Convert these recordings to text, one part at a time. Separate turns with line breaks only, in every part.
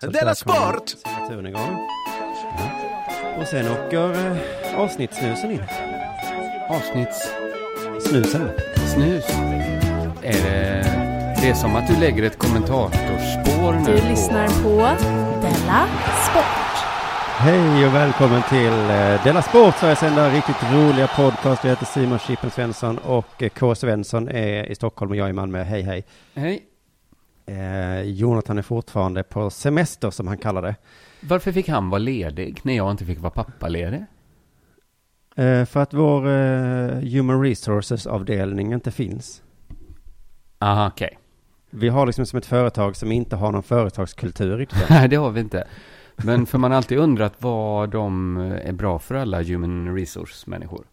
Della Sport!
Saturn igång. Och sen åker eh, avsnittssnusen in.
Avsnittssnus.
Snusen.
Är det... Det är som att du lägger ett kommentatorspår nu.
Du
på-
lyssnar på Della Sport.
Hej och välkommen till eh, Della Sport, Sveriges enda riktigt roliga podcast. Jag heter Simon Chippen Svensson och eh, K. Svensson är i Stockholm och jag är i Malmö. Hej hej.
Hej.
Eh, Jonathan är fortfarande på semester som han kallar det.
Varför fick han vara ledig när jag inte fick vara pappaledig?
Eh, för att vår eh, Human Resources-avdelning inte finns.
Aha, okej.
Vi har liksom som ett företag som inte har någon företagskultur riktigt.
Nej, det har vi inte. Men för man har alltid undrat vad de är bra för alla human resource-människor.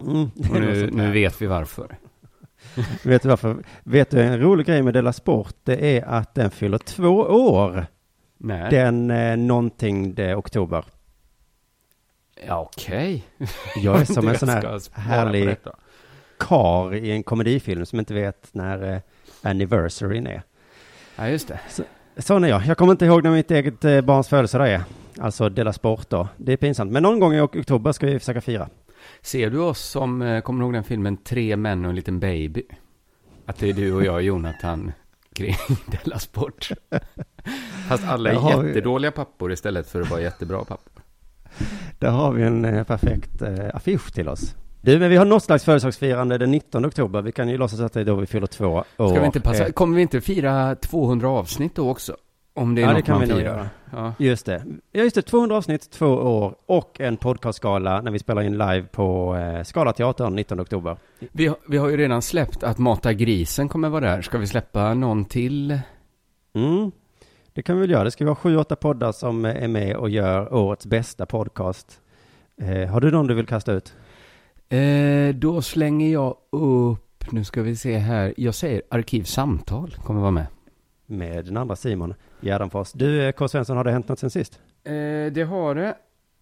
Mm, det är
Och
något
nu,
sånt
nu
där.
vet vi varför.
Vet du varför? Vet du en rolig grej med Della Sport? Det är att den fyller två år.
Nej.
Den eh, någonting det är oktober.
Ja, okej.
Jag är som en
Jag
sån
ska
här
spara på
härlig
detta.
kar i en komedifilm som inte vet när eh, anniversaryn är.
Ja, just det.
Sån är jag. Jag kommer inte ihåg när mitt eget eh, barns födelsedag är. Alltså Della Sport då. Det är pinsamt. Men någon gång i ok- oktober ska vi försöka fira.
Ser du oss som, eh, kommer du ihåg den filmen Tre män och en liten baby? Att det är du och jag, Jonathan, kring Della Sport. Fast alla är
Jaha.
jättedåliga pappor istället för att vara jättebra pappor.
Där har vi en eh, perfekt eh, affisch till oss. Du, men vi har något slags födelsedagsfirande den 19 oktober. Vi kan ju låtsas att det är då vi fyller två år.
Ska vi inte
Eh,
passa, kommer vi inte fira 200 avsnitt då också? Om det är
Ja, det
något
kan vi
man
nog
firar.
göra.
Ja.
Just det. Ja, just det. 200 avsnitt, två år och en podcastgala när vi spelar in live på eh, Skala Teatern 19 oktober.
Vi, har- vi har ju redan släppt att Mata grisen kommer vara där. Ska vi släppa någon till?
Mm. Det kan vi väl göra. Det ska vara sju, åtta poddar som eh, är med och gör årets bästa podcast. Eh, har du någon du vill kasta ut?
Eh, då slänger jag upp, nu ska vi se här. Jag säger Arkivsamtal kommer vara med.
Med den andra Simon Gärdenfors. Du, eh, K. Svensson, har det hänt något sen sist?
Eh, det har det.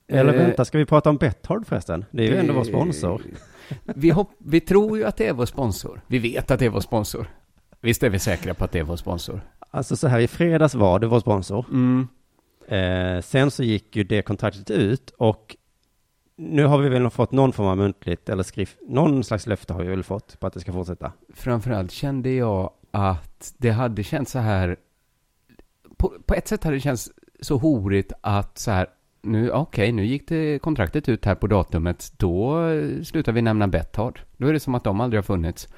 Eller
Eh,
vänta, ska vi prata om Betthard förresten? Det är ju ändå vår sponsor.
Vi, hopp, vi tror ju att det är vår sponsor. Vi vet att det är vår sponsor. Visst är vi säkra på att det är vår sponsor?
Alltså så här, i fredags var det vår sponsor.
Mm.
Eh, sen så gick ju det kontraktet ut och nu har vi väl fått någon form av muntligt eller skrift, någon slags löfte har vi väl fått på att det ska fortsätta.
Framförallt kände jag att det hade känts så här... På, på ett sätt hade det känts så horigt att så här... Nu, okej, nu gick det kontraktet ut här på datumet. Då eh, slutar vi nämna Betthard. Då är det som att de aldrig har funnits.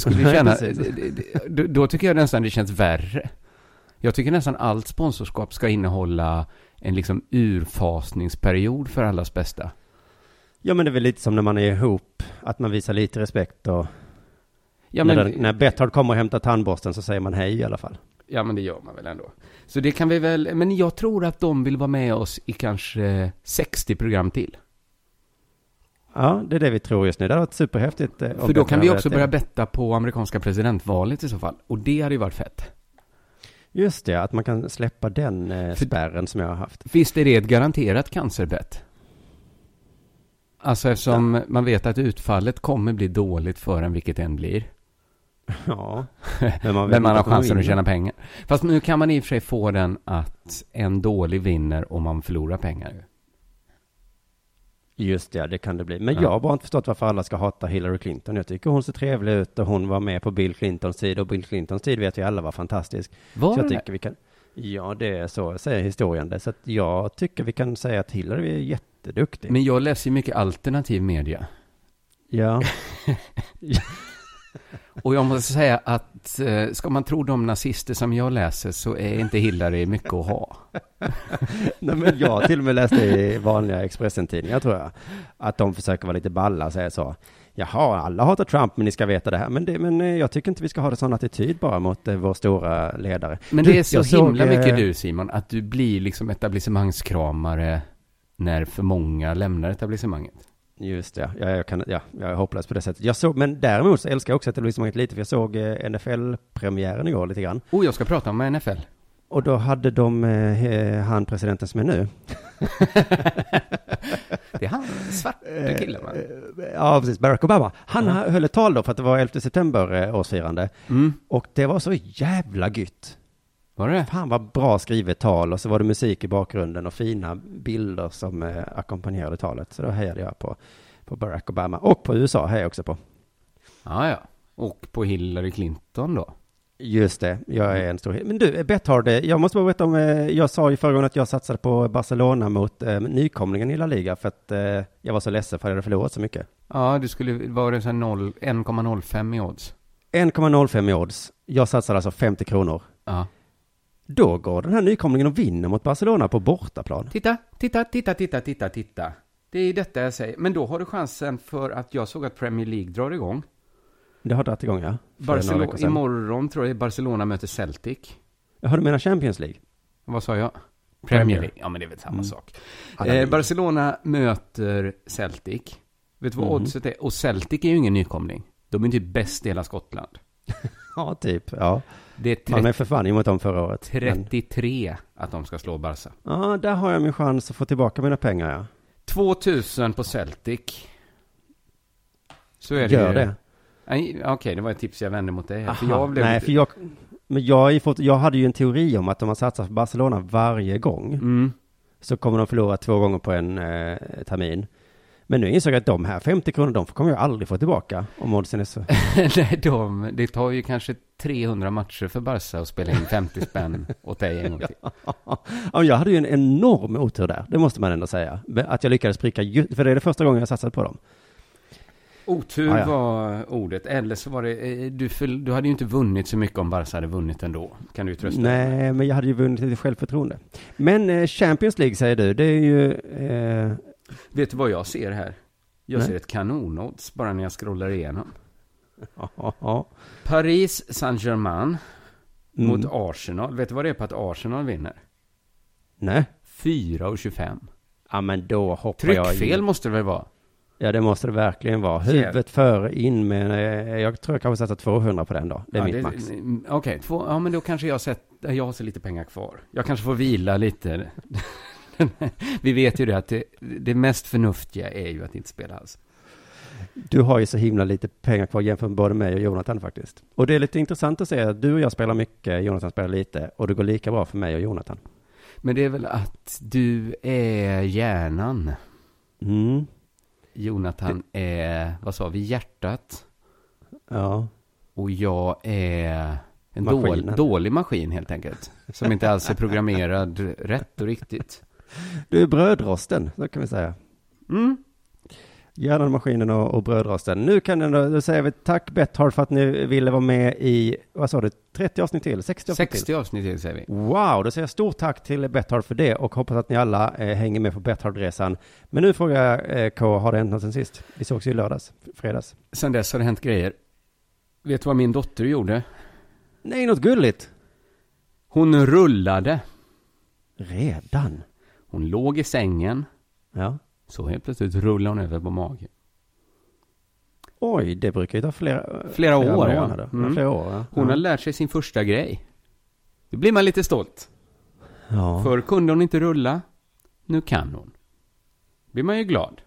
skulle
Nej,
känna...
precis.
det- det- det- Då, då tycker jag nästan det känns värre. Jag tycker nästan allt sponsorskap ska innehålla en liksom urfasningsperiod för allas bästa.
Ja men det är väl lite som när man är ihop, att man visar lite respekt och
Ja,
när, den- när Betthard kommer och hämtar tandborsten så säger man hej i alla fall.
Ja, men det gör man väl ändå. Så det kan vi väl, men jag tror att de vill vara med oss i kanske 60 program till.
Ja, det är det vi tror just nu. Det hade varit superhäftigt. eh, om
För då
Betthard
kan vi
hade
också
rätt
börja
i.
betta på amerikanska presidentvalet i så fall. Och det hade ju varit fett.
Just det, att man kan släppa den eh,
För-
spärren som jag har haft.
Visst är det ett garanterat cancerbett? Alltså eftersom man vet att utfallet kommer bli dåligt för en, vilket den blir.
Ja, men man, vet
Men man
inte
har
om kommer
chansen att
vinna.
tjäna pengar. Fast nu kan man i och för sig få den att en dålig vinner och man förlorar pengar. ju.
Just det, det kan det bli. Men
Ja.
jag har bara inte förstått varför alla ska hata Hillary Clinton. Jag tycker hon ser trevlig ut och hon var med på Bill Clintons tid och Bill Clintons tid vet vi alla var fantastisk. så
Var den
jag
det?
tycker vi kan... Ja, det är så säger historien det. Så att jag tycker vi kan säga att Hillary är jätteduktig.
Men jag läser ju mycket alternativ media.
Ja,
Och jag måste säga att eh, ska man tro de nazister som jag läser så är inte Hillary mycket att ha.
Nej, men jag till och med läste i vanliga Expressen-tidningar tror jag. Att de försöker vara lite balla och säga så. Jaha, alla hatar Trump, men ni ska veta det här. Men, det, men eh, jag tycker inte vi ska ha en sån attityd bara mot eh, vår stora ledare.
Men
Du,
det är så
jag såg,
himla
eh,
mycket du Simon, att du blir liksom etablissemangskramare när för många lämnar etablissemanget.
Just det, ja, jag, kan, ja, jag är hopplös på det sättet. Jag såg, men däremot så älskar jag också etablissemanget lite, för jag såg eh, NFL-premiären igår lite grann.
Oh, jag ska prata om NFL.
Och då hade de eh, he- han presidenten som är nu.
Det är han, svarte killen va?
Eh, Ja, precis, Barack Obama. Han ha- höll ett tal då, för att det var 11 september eh, årsfirande.
Mm.
Och det var så jävla gött.
Var det?
Fan vad bra skrivet tal och så var det musik i bakgrunden och fina bilder som eh, ackompanjerade talet. Så då hejade jag på, på Barack Obama och på USA hejade jag också på.
Ja, ja. Och på Hillary Clinton då.
Just det, jag är en stor Men du, Bethard, eh, jag måste bara veta om, eh, jag sa ju förra gången att jag satsade på Barcelona mot eh, nykomlingen i La Liga för att eh, jag var så ledsen för att jag hade förlorat så mycket.
Ja, du skulle, var det så här noll- 1,05 i odds?
1,05 i odds. Jag satsade alltså 50 kronor.
Ja.
Då går den här nykomlingen och vinner mot Barcelona på bortaplan.
Titta, titta, titta, titta, titta, titta. Det är detta jag säger. Men då har du chansen för att jag såg att Premier League drar igång.
Det har dragit igång, ja. För några veckor
Barcelona,
sedan.
imorgon tror jag Barcelona möter Celtic.
Jaha, du menar Champions League?
Vad sa jag?
Premier. Mm.
Premier League. Ja, men det är väl samma sak.
Alla
Eh,
ligor.
Barcelona möter Celtic. Vet
Mhm.
du vad oddset är? Och Celtic är ju ingen nykomling. De är typ bäst i hela Skottland.
Ja, typ. Ja.
Det är
Man är
30,
för fan emot dem förra året. Men,
33 att de ska slå Barca.
ja, där har jag min chans att få tillbaka mina pengar, ja.
2000 på Celtic. Så är det
Gör
ju.
det.
Nej, Okej, det var ett tips jag vände mot dig. här, Eh, för
Aha,
jag blev
Nej,
lite-
för jag, men jag, är fort, jag hade ju en teori om att om man satsar på Barcelona varje gång
Mm.
så kommer de förlora två gånger på en eh, termin. Men nu insåg jag att de här 50 kronor, de kommer jag aldrig få tillbaka om oddsen är så.
Nej, de, det tar ju kanske 300 matcher för Barca att spela in 50 spänn åt dig en gång till.
Ja, men jag hade ju en enorm otur där, det måste man ändå säga. Men Att jag lyckades pricka, ju- för det är det första gången jag satsat på dem.
Otur
Ah, ja.
var ordet, eller så var det, eh, du, förl- du hade ju inte vunnit så mycket om Barca hade vunnit ändå. Kan du ju trösta dig med.
Nej, men jag hade ju vunnit lite självförtroende. Men eh, Champions League säger du, det är ju... Eh,
Vet du vad jag ser här? Jag
Nej.
ser ett kanonodds bara när jag scrollar igenom.
ja, ja, ja.
Paris Saint-Germain
Mm.
mot Arsenal. Vet du vad det är på att Arsenal vinner?
Nej.
4,25.
Ja, men då hoppar jag in.
Tryckfel måste det väl vara?
Ja, det måste det verkligen vara. Huvudet före, in med... eh, Jag tror jag kanske satsar 200 på den då. Det är
Ja,
mitt max.
mm, Okej, två, ja men då kanske jag har sett, jag har så lite pengar kvar. Jag kanske får vila lite. Vi vet ju det att det, det mest förnuftiga är ju att inte spela alls.
Du har ju så himla lite pengar kvar jämfört med både mig och Jonathan faktiskt. Och det är lite intressant att se att du och jag spelar mycket, Jonathan spelar lite, och det går lika bra för mig och Jonathan.
Men det är väl att du är hjärnan.
Mm,
Jonathan är, vad sa vi, hjärtat.
ja.
Och jag är en
Maskinen.
dål, dålig maskin helt enkelt. Som inte alls är programmerad rätt och riktigt.
Du är brödrosten, så kan vi säga.
Mm.
Hjärnan, maskinen och, och brödrosten. Nu kan den, då säger vi tack Betthard för att ni ville vara med i, vad sa du, 30 avsnitt till? 60 avsnitt till?
60 avsnitt till säger vi.
Wow, då säger jag stort tack till Betthard för det och hoppas att ni alla eh, hänger med på Betthard-resan. Men nu frågar jag eh, K, har det hänt något sen sist? Vi sågs ju i lördags, f- fredags.
Sen dess har det hänt grejer. Vet du vad min dotter gjorde?
Nej, något gulligt.
Hon rullade.
Redan?
Hon låg i sängen.
Ja.
Så helt plötsligt rullade hon över på magen.
Oj, det brukar ju ta flera,
Flera år, ja.
månader. ja.
Mm.
Flera år, ja.
Hon har lärt sig sin första grej. Då blir man lite stolt.
ja.
Förr kunde hon inte rulla. Nu kan hon. blir man ju glad.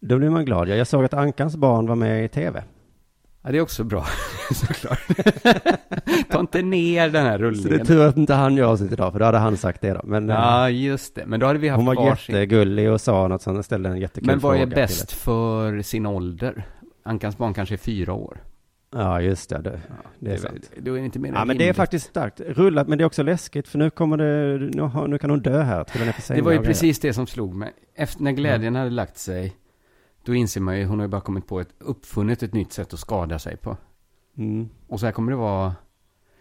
Då blir man glad. Ja, jag såg att Ankans barn var med i tv.
Ja, det är också bra, såklart. Ta inte ner den här
Så det är
rullningen.
tur att inte han gör avsnitt idag, för då hade han sagt det då. Men eh,
Ja, just det. Men då hade vi haft
hon var
varsin.
jättegullig och sa något sånt, ställde en jättekul
Men vad
fråga
är
till
bäst för sin ålder? Ankans barn kanske är fyra år.
det. Ja, just det. Det, det är
väl-
sant.
Då är det inte mer
Ja,
än
men det är
rimligt.
faktiskt starkt. Rullat, men det är också läskigt, för nu kommer det, nu, har- nu kan hon dö här, trilla ner för
Det
sängen
var ju
och grejer. Mm.
precis det som slog mig. Efter när glädjen hade lagt sig, då inser man ju, hon har ju bara kommit på ett, uppfunnit ett nytt sätt att skada sig på.
Mm.
Och så här kommer det vara,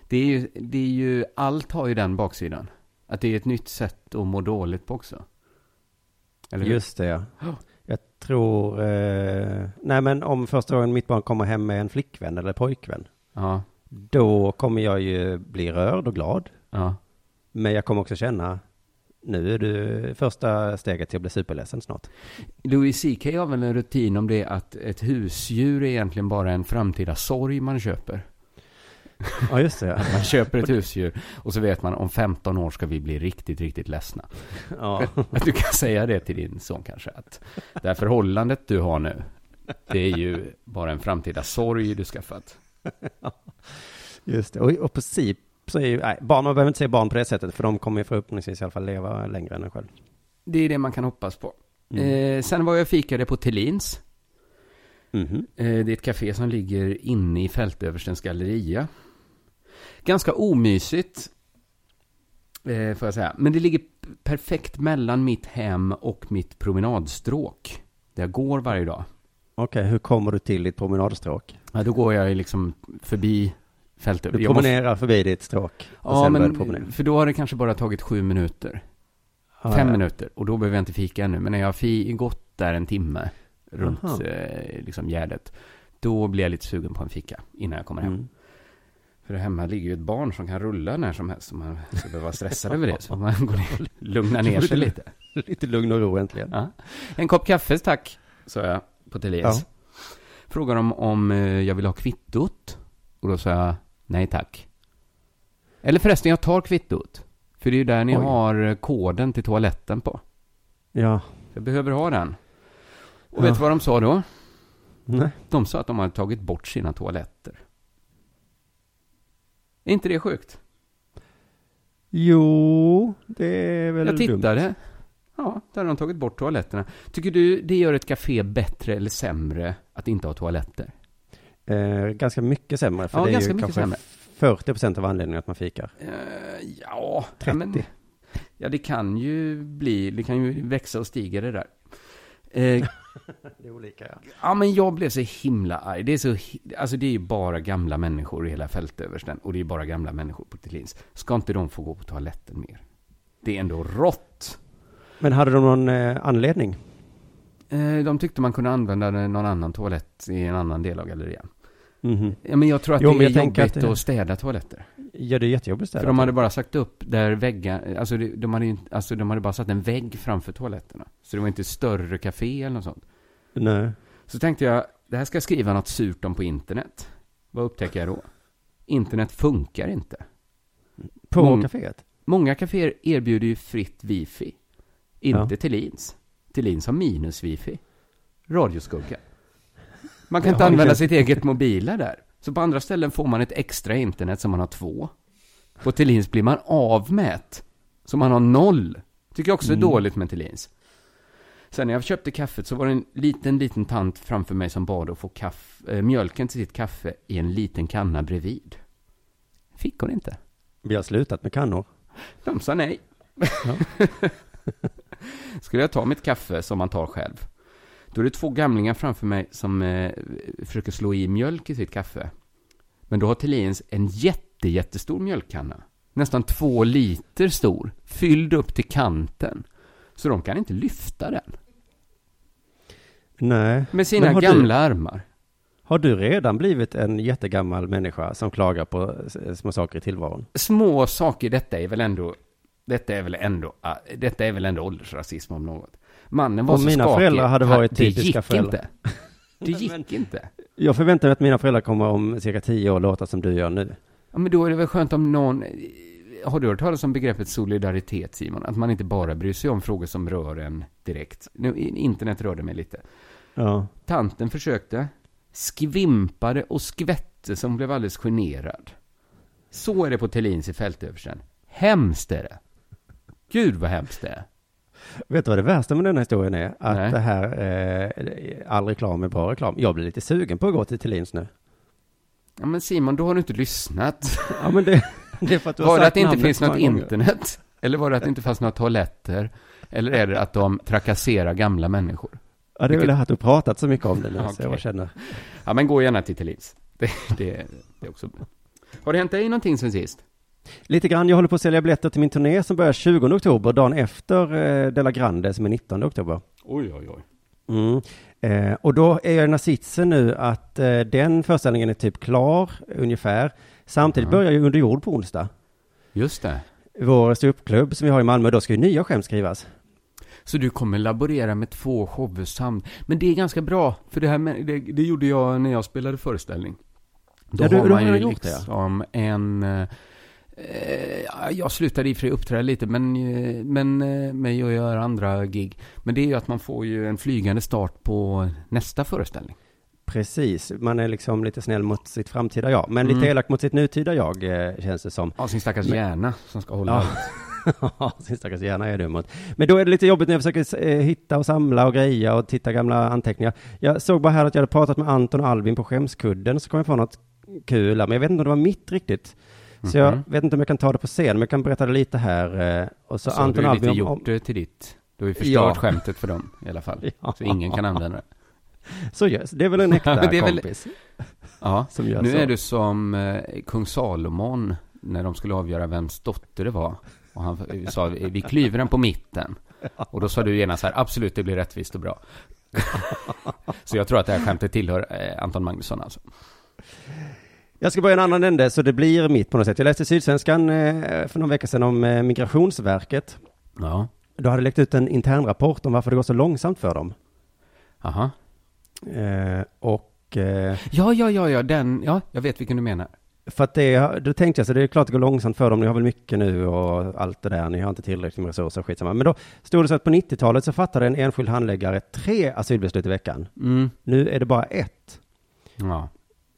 det är ju, det är ju allt har ju den baksidan. Att det är ett nytt sätt att må dåligt på också. Eller hur?
Just det, ja.
Ja.
Jag tror, eh, nej men om första gången mitt barn kommer hem med en flickvän eller pojkvän,
Ja,
då kommer jag ju bli rörd och glad.
ja.
Men jag kommer också känna, nu är du första steget till att bli superledsen snart.
Louis CK har väl en rutin om det att ett husdjur är egentligen bara en framtida sorg man köper.
Ja, just det.
Man köper ett husdjur och så vet man om 15 år ska vi bli riktigt, riktigt ledsna.
Ja. ja.
Att du kan säga det till din son kanske, att det här förhållandet du har nu, det är ju bara en framtida sorg du skaffat.
Just det, och, och på, si- så är ju, nej, barn, man behöver inte se barn på det sättet, för de kommer ju förhoppningsvis i alla fall leva längre än en själv.
Det är det man kan hoppas på.
Mm.
Eh, sen var jag och fikade på Tellins.
Mhm.
Eh, det är ett café som ligger inne i Fältöverstens galleria. Ganska omysigt, eh, får jag säga. Men det ligger p- perfekt mellan mitt hem och mitt promenadstråk. Där jag går varje dag.
Okej, hur kommer du till ditt promenadstråk?
Ja, då går jag ju liksom förbi Fältöversten.
Du
Jag måste-
promenerar förbi ditt stråk och
Ja,
sen börjar du
men
promenera.
för då har det kanske bara tagit sju minuter.
Ja,
fem
ja.
minuter. Och då behöver jag inte fika ännu. Men när jag har fi- gått där en timme runt
Aha.
eh, liksom Gärdet, då blir jag lite sugen på en fika innan jag kommer hem.
Mm.
För hemma ligger ju ett barn som kan rulla när som helst. Så man ska behöva vara stressad över det. Så man går ner, lugnar ner sig lite.
Lite lugn och ro äntligen.
Ja. En kopp kaffe tack, sa jag på Telias. Frågade de om eh, jag vill ha kvittot. Och då sa jag nej tack. Eller förresten, jag tar kvittot. För det är ju där ni
Oj.
har eh, koden till toaletten på.
Ja.
Jag behöver ha den. Och
Ja.
vet du vad de sa då?
Nej.
De sa att de hade tagit bort sina toaletter. Är inte det sjukt?
Jo, det är väl
Jag
dumt.
tittade. Ja, där har de tagit bort toaletterna. Tycker du det gör ett café bättre eller sämre att inte ha toaletter?
Eh, ganska mycket sämre, för
Ja,
det är
ganska
ju
mycket
kanske
sämre.
40 procent av anledningen att man fikar.
Eh, ja,
30.
ja, men, ja, det kan ju bli, det kan ju växa och stiga det där. Eh,
Det är olika, ja.
ja, men jag blev så himla arg. Det är så, hi- alltså det är ju bara gamla människor i hela fältöversten och det är bara gamla människor på Thelins. Ska inte de få gå på toaletten mer? Det är ändå rått.
Men hade de någon eh, anledning?
Eh, de tyckte man kunde använda någon annan toalett i en annan del av gallerian.
Mhm.
Ja, men jag tror att
Jo,
det
men
är
jag tänker
jobbigt att,
att det-
städa toaletter.
Ja, det är jättejobbigt
För
städat.
de hade bara sagt upp där väggar, alltså det- de hade, ju inte- alltså de hade bara satt en vägg framför toaletterna. Så det var inte större café eller något sånt.
Nej.
Så tänkte jag, det här ska jag skriva något surt om på internet. Vad upptäcker jag då? Internet funkar inte.
På
Mång-
kaféet?
Många kaféer erbjuder ju fritt wifi. Inte
Ja.
Thelins. Thelins har minus wifi. Radioskugga. Man kan
Ja,
inte använda
det-
sitt eget mobila där. Så på andra ställen får man ett extra internet som man har två. På Thelins blir man av med ett. Så man har noll. Tycker jag också
Mm.
är dåligt med Thelins. Sen när jag köpte kaffet så var det en liten, liten tant framför mig som bad att få kaff, eh, mjölken till sitt kaffe i en liten kanna bredvid. Fick hon inte.
Vi har slutat med kannor.
De sa nej. Skulle jag ta mitt kaffe som man tar själv. Då är det två gamlingar framför mig som eh, försöker slå i mjölk i sitt kaffe. Men då har Thelins en jätte, jättestor mjölkkanna. Nästan två liter stor. Fylld upp till kanten. Så de kan inte lyfta den.
Nej.
Med sina
Men har
gamla
Du,
armar.
har du redan blivit en jättegammal människa som klagar på s- små saker i tillvaron?
små saker, detta är väl ändå, detta är väl ändå, ah, detta är väl ändå åldersrasism om något. Mannen var
Om
så
mina
skakig,
föräldrar hade
han-
varit
det
typiska
gick
föräldrar.
Inte. Det gick inte.
Jag förväntar mig att mina föräldrar kommer om cirka tio år låta som du gör nu.
Ja, men då är det väl skönt om någon, har du hört talas om begreppet solidaritet Simon? Att man inte bara bryr sig om frågor som rör en direkt. Nu, internet rörde mig lite.
Ja.
Tanten försökte, skvimpade och skvätte som blev alldeles generad. Så är det på Thelins i Fältöversten. Hemskt är det. Gud vad hemskt det är.
Vet du vad det värsta med den här historien är? Att
Nej.
det här, eh, all reklam är bra reklam. Jag blir lite sugen på att gå till Thelins nu.
Ja men Simon, då har du inte lyssnat.
Ja, men det, det är för att du har
Var det
sagt
att det inte
namnet
finns
så
något
många gånger.
internet? Eller var det att det inte fanns några toaletter? Eller är det att de trakasserar gamla människor?
Ja, det är väl det här att du pratat så mycket om det nu, så
Okej.
jag känner.
Ja men gå gärna till Thelins. Det, det, det är också bra. Har det hänt dig någonting sen sist?
Lite grann, jag håller på att sälja biljetter till min turné som börjar 20 oktober, dagen efter eh, De La Grande som är 19 oktober.
Oj, oj, oj.
Mm. Eh, och då är jag i den här sitsen nu att eh, den föreställningen är typ klar, ungefär. Samtidigt
Mm.
börjar ju Under jord på onsdag.
Just det.
Vår ståuppklubb som vi har i Malmö, då ska ju nya skämt skrivas.
Så du kommer laborera med två shower samt. Men det är ganska bra, för det här med, det, det gjorde jag när jag spelade föreställning. Då
Ja, du-
har
du
man
har
ju
gjort det, ja.
liksom en... eh, Eh, jag slutade i och för sig uppträda lite, men, eh, men eh, mig och jag gör andra gig. Men det är ju att man får ju en flygande start på nästa föreställning.
Precis, man är liksom lite snäll mot sitt framtida jag, men
Mm.
lite elak mot sitt nutida jag eh, känns det som.
Ja, sin stackars
Men-
hjärna som ska hålla.
Ja.
allt.
Ja, sin stackars hjärna är dum mot. Men då är det lite jobbigt när jag försöker eh, hitta och samla och greja och titta gamla anteckningar. Jag såg bara här att jag hade pratat med Anton och Albin på skämskudden, så kom jag på något kul här, men jag vet inte om det var mitt riktigt. Så jag
Mhm.
vet inte om jag kan ta det på scen, men jag kan berätta det lite här. eh, Och så,
Så
Anton
Alltså, du
och
har lite
Albin... om-
gjort
om-
det till ditt. Du har ju förstört
Ja.
skämtet för dem i alla fall.
Ja.
Så ingen kan använda det.
Så görs, det är väl en äkta
Men det är väl-
kompis
Ja.
som gör
Nu
så.
är du som eh, kung Salomon när de skulle avgöra vems dotter det var. Och han sa, vi klyver den på mitten. Och då sa du genast så här, absolut det blir rättvist och bra. så jag tror att det här skämtet tillhör eh, Anton Magnusson alltså.
Jag ska börja en annan ände, så det blir mitt på något sätt. Jag läste i Sydsvenskan eh, för någon vecka sedan om eh, Migrationsverket.
Ja,
Då hade läckt ut en internrapport om varför det går så långsamt för dem.
aha.
Eh, och eh,
Ja, ja, ja, ja, den, ja, jag vet vilken du menar.
för att det, då tänkte jag så det är klart det går långsamt för dem, ni har väl mycket nu och allt det där, ni har inte tillräckligt med resurser, skitsamma. Men då stod det så att på 90-talet så fattade en enskild handläggare tre asylbeslut i veckan.
Mm.
Nu är det bara ett.
Ja.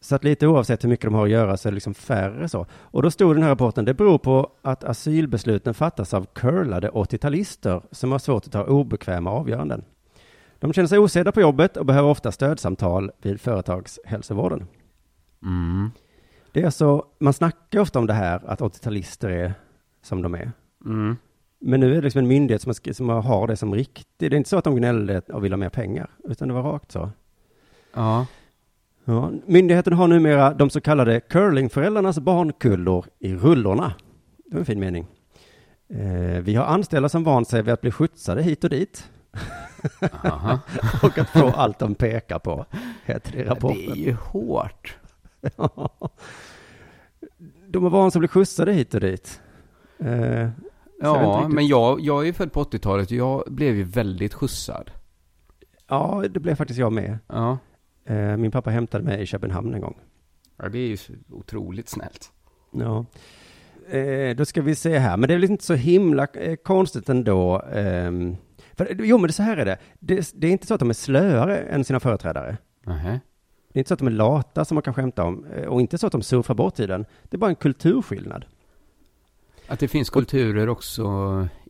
Så att lite oavsett hur mycket de har att göra så är det liksom färre så. Och då stod den här rapporten, det beror på att asylbesluten fattas av curlade 80-talister som har svårt att ta obekväma avgöranden. De känner sig osedda på jobbet och behöver ofta stödsamtal vid företagshälsovården.
Mm.
Det är så, man snackar ofta om det här att 80-talister är som de är.
Mm.
Men nu är det liksom en myndighet som, har sk- som har det som riktigt. Det är inte så att de gnällde och ville ha mer pengar, utan det var rakt så.
Ja.
Ja, myndigheten har numera de så kallade curlingföräldrarnas barnkullor i rullorna. Det var en fin mening. Eh, vi har anställda som vant sig vid att bli skjutsade hit och dit
Aha.
och att få allt de pekar på, heter det i
Det är
rapporten.
ju hårt.
de har vant sig att bli skjutsade hit och dit. Eh, jag vet inte
Ja,
riktigt.
men jag, jag är ju född på 80-talet. Jag blev ju väldigt skjutsad.
ja, det blev faktiskt jag med.
Ja.
Eh, min pappa hämtade mig i Köpenhamn en gång.
ja, det är ju otroligt snällt.
Ja. Eh, då ska vi se här, men det är väl inte så himla eh, konstigt ändå. ehm. för, jo, men det, så här är det. det. Det är inte så att de är slöare än sina företrädare.
Nähä.
Det är inte så att de är lata som man kan skämta om eh, och inte så att de surfar bort tiden. Det är bara en kulturskillnad.
Att det finns kulturer också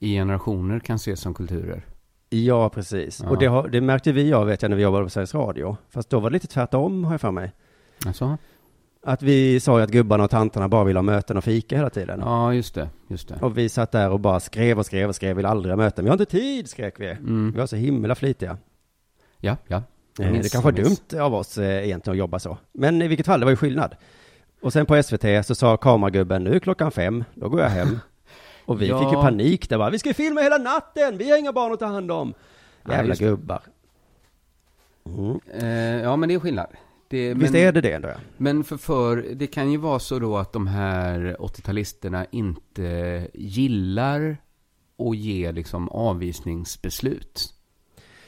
i generationer kan ses som kulturer.
Ja, precis.
Ja.
Och det, har, det märkte vi av, vet jag, när vi jobbade på Sveriges Radio. Fast då var det lite tvärtom, har jag för mig.
Alltså?
Att vi sa ju att gubbarna och tantarna bara ville ha möten och fika hela tiden.
Ja, just det. Just det.
Och vi satt där och bara skrev och skrev och skrev, vill aldrig ha möten. Vi har inte tid, skrek vi.
Mm.
Vi var så himla flitiga.
Ja, ja.
Eh,
Minns,
det kanske var
minns.
dumt av oss eh, egentligen att jobba så. Men i vilket fall, det var ju skillnad. Och sen på SVT så sa kameragubben, nu är klockan fem, då går jag hem. Och vi
Ja.
fick ju panik där bara, vi ska ju filma hela natten, vi har inga barn att ta hand om.
Ja,
Jävla
just det.
gubbar. Mm.
Eh, ja, men det är skillnad. Det,
Visst
men,
är det det ändå? ja?
Men för, för det kan ju vara så då att de här 80-talisterna inte gillar och ge liksom avvisningsbeslut.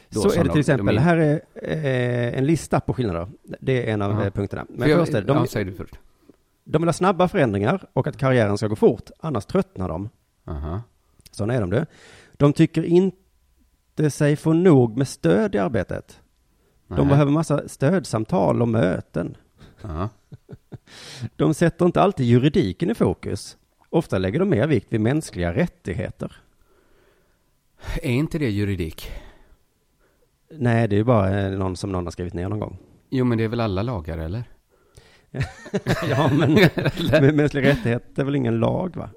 Då
Så
som
är det
de-
till exempel.
de är-
Här är eh, en lista på skillnader. Det är en av
Ja.
eh, punkterna. Men
för jag,
först är det, de,
ja, säger du först.
de vill ha snabba förändringar och att karriären ska gå fort, annars tröttnar de.
Aha.
Sådana är de du. De tycker inte sig få nog med stöd i arbetet. De
Nähä.
behöver massa stödsamtal och möten.
Ja.
De sätter inte alltid juridiken i fokus. Ofta lägger de mer vikt vid mänskliga rättigheter.
Är inte det juridik?
Nej, det är ju bara eh, någon som någon har skrivit ner någon gång.
Jo, men det är väl alla lagar, eller?
Ja, men, men mänskliga rättigheter är väl ingen lag, va?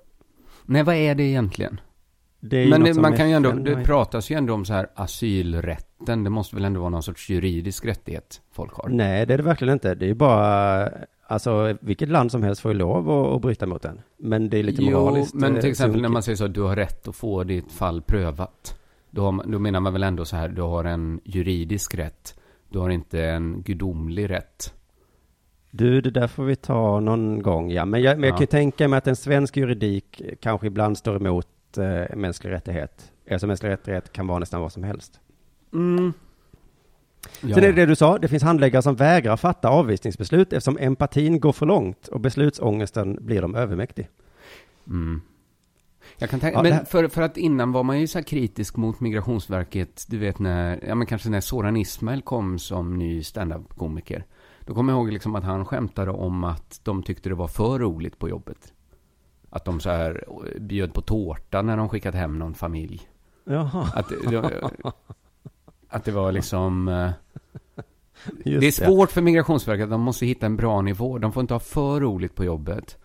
Nej, vad är det egentligen?
Det är ju
men
något
det,
som
man kan ju ändå,
FN
det
har-
pratas ju ändå om så här asylrätten. Det måste väl ändå vara någon sorts juridisk rättighet folk har?
Nej, det är det verkligen inte. Det är ju bara, alltså vilket land som helst får ju lov att, att bryta mot den. Men det är lite
jo,
moraliskt.
men
eh,
till exempel när
sunkigt.
man säger så att du har rätt att få ditt fall prövat. Då, har man, då menar man väl ändå så här, du har en juridisk rätt. Du har inte en gudomlig rätt.
Du, det där får vi ta någon gång, ja. Men jag, men jag
Ja.
kan ju tänka mig att en svensk juridik kanske ibland står emot eh, mänsklig rättighet. Eftersom mänsklig rättighet kan vara nästan vad som helst.
Ja,
Sen är Mm. det det du sa, det finns handläggare som vägrar fatta avvisningsbeslut eftersom empatin går för långt och beslutsångesten blir dem övermäktig.
Mm. Jag kan tänka,
Ja, det
men
här-
för, för att innan var man ju så här kritisk mot Migrationsverket, du vet när, ja men kanske när Soran Ismail kom som ny standup-komiker. Då kommer jag ihåg liksom att han skämtade om att de tyckte det var för roligt på jobbet. Att de så här eh, bjöd på tårta när de skickat hem någon familj.
Jaha,
Att det, det var- att det var liksom... eh,
just
det är svårt för Migrationsverket, de måste hitta en bra nivå. De får inte ha för roligt på jobbet.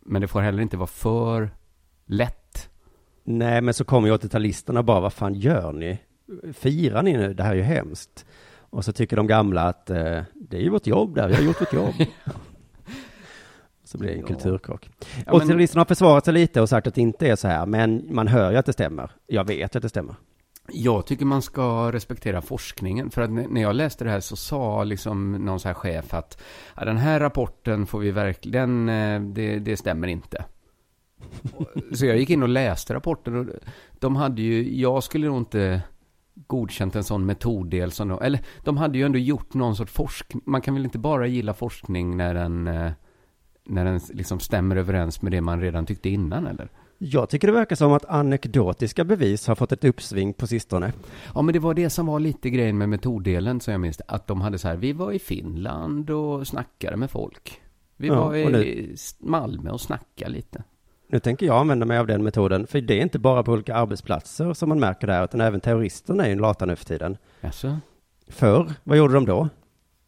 Men det får heller inte vara för lätt.
Nej, men så kommer ju 80-talisterna och bara, vad fan gör ni? Firar ni nu? Det här är ju hemskt. Och så tycker de gamla att eh, det är ju vårt jobb där, vi har gjort vårt jobb. så blir det en
Ja.
kulturkrock.
Ja, men-
80-talisterna har försvarat sig lite och sagt att det inte är så här, men man hör ju att det stämmer. Jag vet att det stämmer.
Jag tycker man ska respektera forskningen. För att n- när jag läste det här så sa liksom någon så här chef att ja, den här rapporten får vi verkligen, eh, det, det stämmer inte. Och- Så jag gick in och läste rapporten och de hade ju, jag skulle nog inte godkänt en sån metoddel som de, eller de hade ju ändå gjort någon sorts forskning, man kan väl inte bara gilla forskning när den, eh, när den liksom stämmer överens med det man redan tyckte innan eller?
Jag tycker det verkar som att anekdotiska bevis har fått ett uppsving på sistone.
Ja, men det var det som var lite grejen med metoddelen som jag minns Att de hade så här, vi var i Finland och snackade med folk. Vi
Ja,
var i
och
Malmö och snackade lite.
Nu tänker jag använda mig av den metoden, för det är inte bara på olika arbetsplatser som man märker det här, utan även terroristerna är ju lata nu för tiden.
Jaså?
Förr, vad gjorde de då?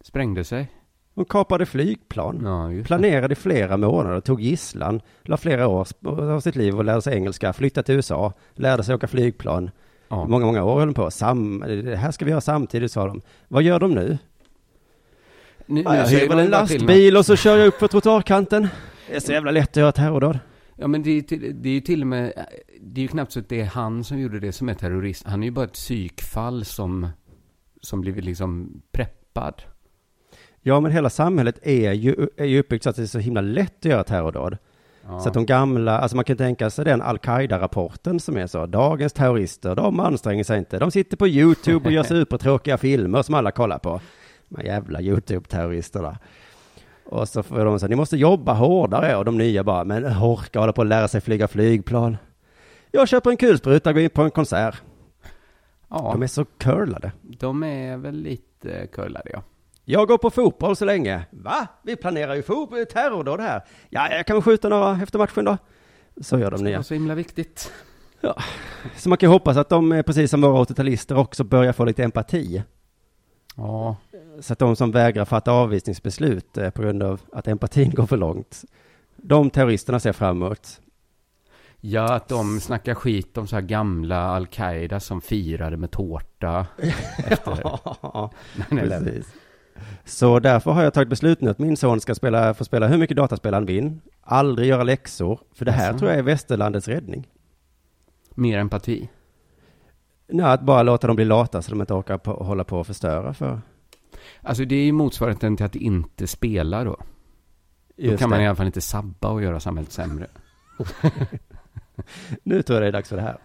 Sprängde sig?
De kapade flygplan,
Ja, just det.
planerade i flera månader, tog gisslan, la flera år sp- av sitt liv och lärde sig engelska, flyttade till USA, lärde sig åka flygplan.
Ja.
Många, många år höll de på. Sam, det här ska vi göra samtidigt, sa de. Vad gör de nu?
Nu,
Ja, jag
säger
hyr väl
de
en
bara till
lastbil och så kör jag upp på trottoarkanten. Det är så jävla lätt att göra terrordåd.
något. Ja, men det är, ju till, det är ju till och med, det är ju knappt så att det är han som gjorde det som är terrorist. Han är ju bara ett psykfall som, som blivit liksom preppad.
Ja, men hela samhället är ju, är ju uppbyggt så att det är så himla lätt att göra terrordåd.
Ja.
Så att de gamla, alltså man kan tänka sig den al-Qaida-rapporten som är så, dagens terrorister, de anstränger sig inte, de sitter på YouTube och gör supertråkiga filmer som alla kollar på. De här jävla YouTube-terroristerna. Och så får de säga, ni måste jobba hårdare, och de nya bara, men orka hålla på och lära sig flyga flygplan. Jag köper en kulspruta och går in på en konsert.
ja,
De är så curlade.
de är väl lite curlade, ja.
Jag går på fotboll så länge. Va? Vi planerar ju fotboll, terrordåd här. Ja, jag kan väl skjuta några efter matchen då. Så gör de
Det
nya.
är så himla viktigt.
Så man kan ju hoppas att de, eh, precis som våra 80-talister, också börjar få lite empati.
Ja,
Så att de som vägrar fatta avvisningsbeslut eh, på grund av att empatin går för långt, de terroristerna ser framåt.
Ja, att de snackar skit om så här gamla al-Qaida som firade med tårta. Efter.
Ja,
Nej, nej, nej.
precis. Så därför har jag tagit beslut nu att min son ska spela, få spela hur mycket dataspel han vill, aldrig göra läxor, för det här
Jaså?
tror jag är västerlandets räddning.
Mer empati.
Nej, att bara låta dem bli lata så de inte orkar på, hålla på och förstöra för...
Alltså det är ju motsvarigheten till att inte spela då. Då
Just
kan man
det.
i alla fall inte sabba och göra samhället sämre.
Nu tror jag det är dags för det här.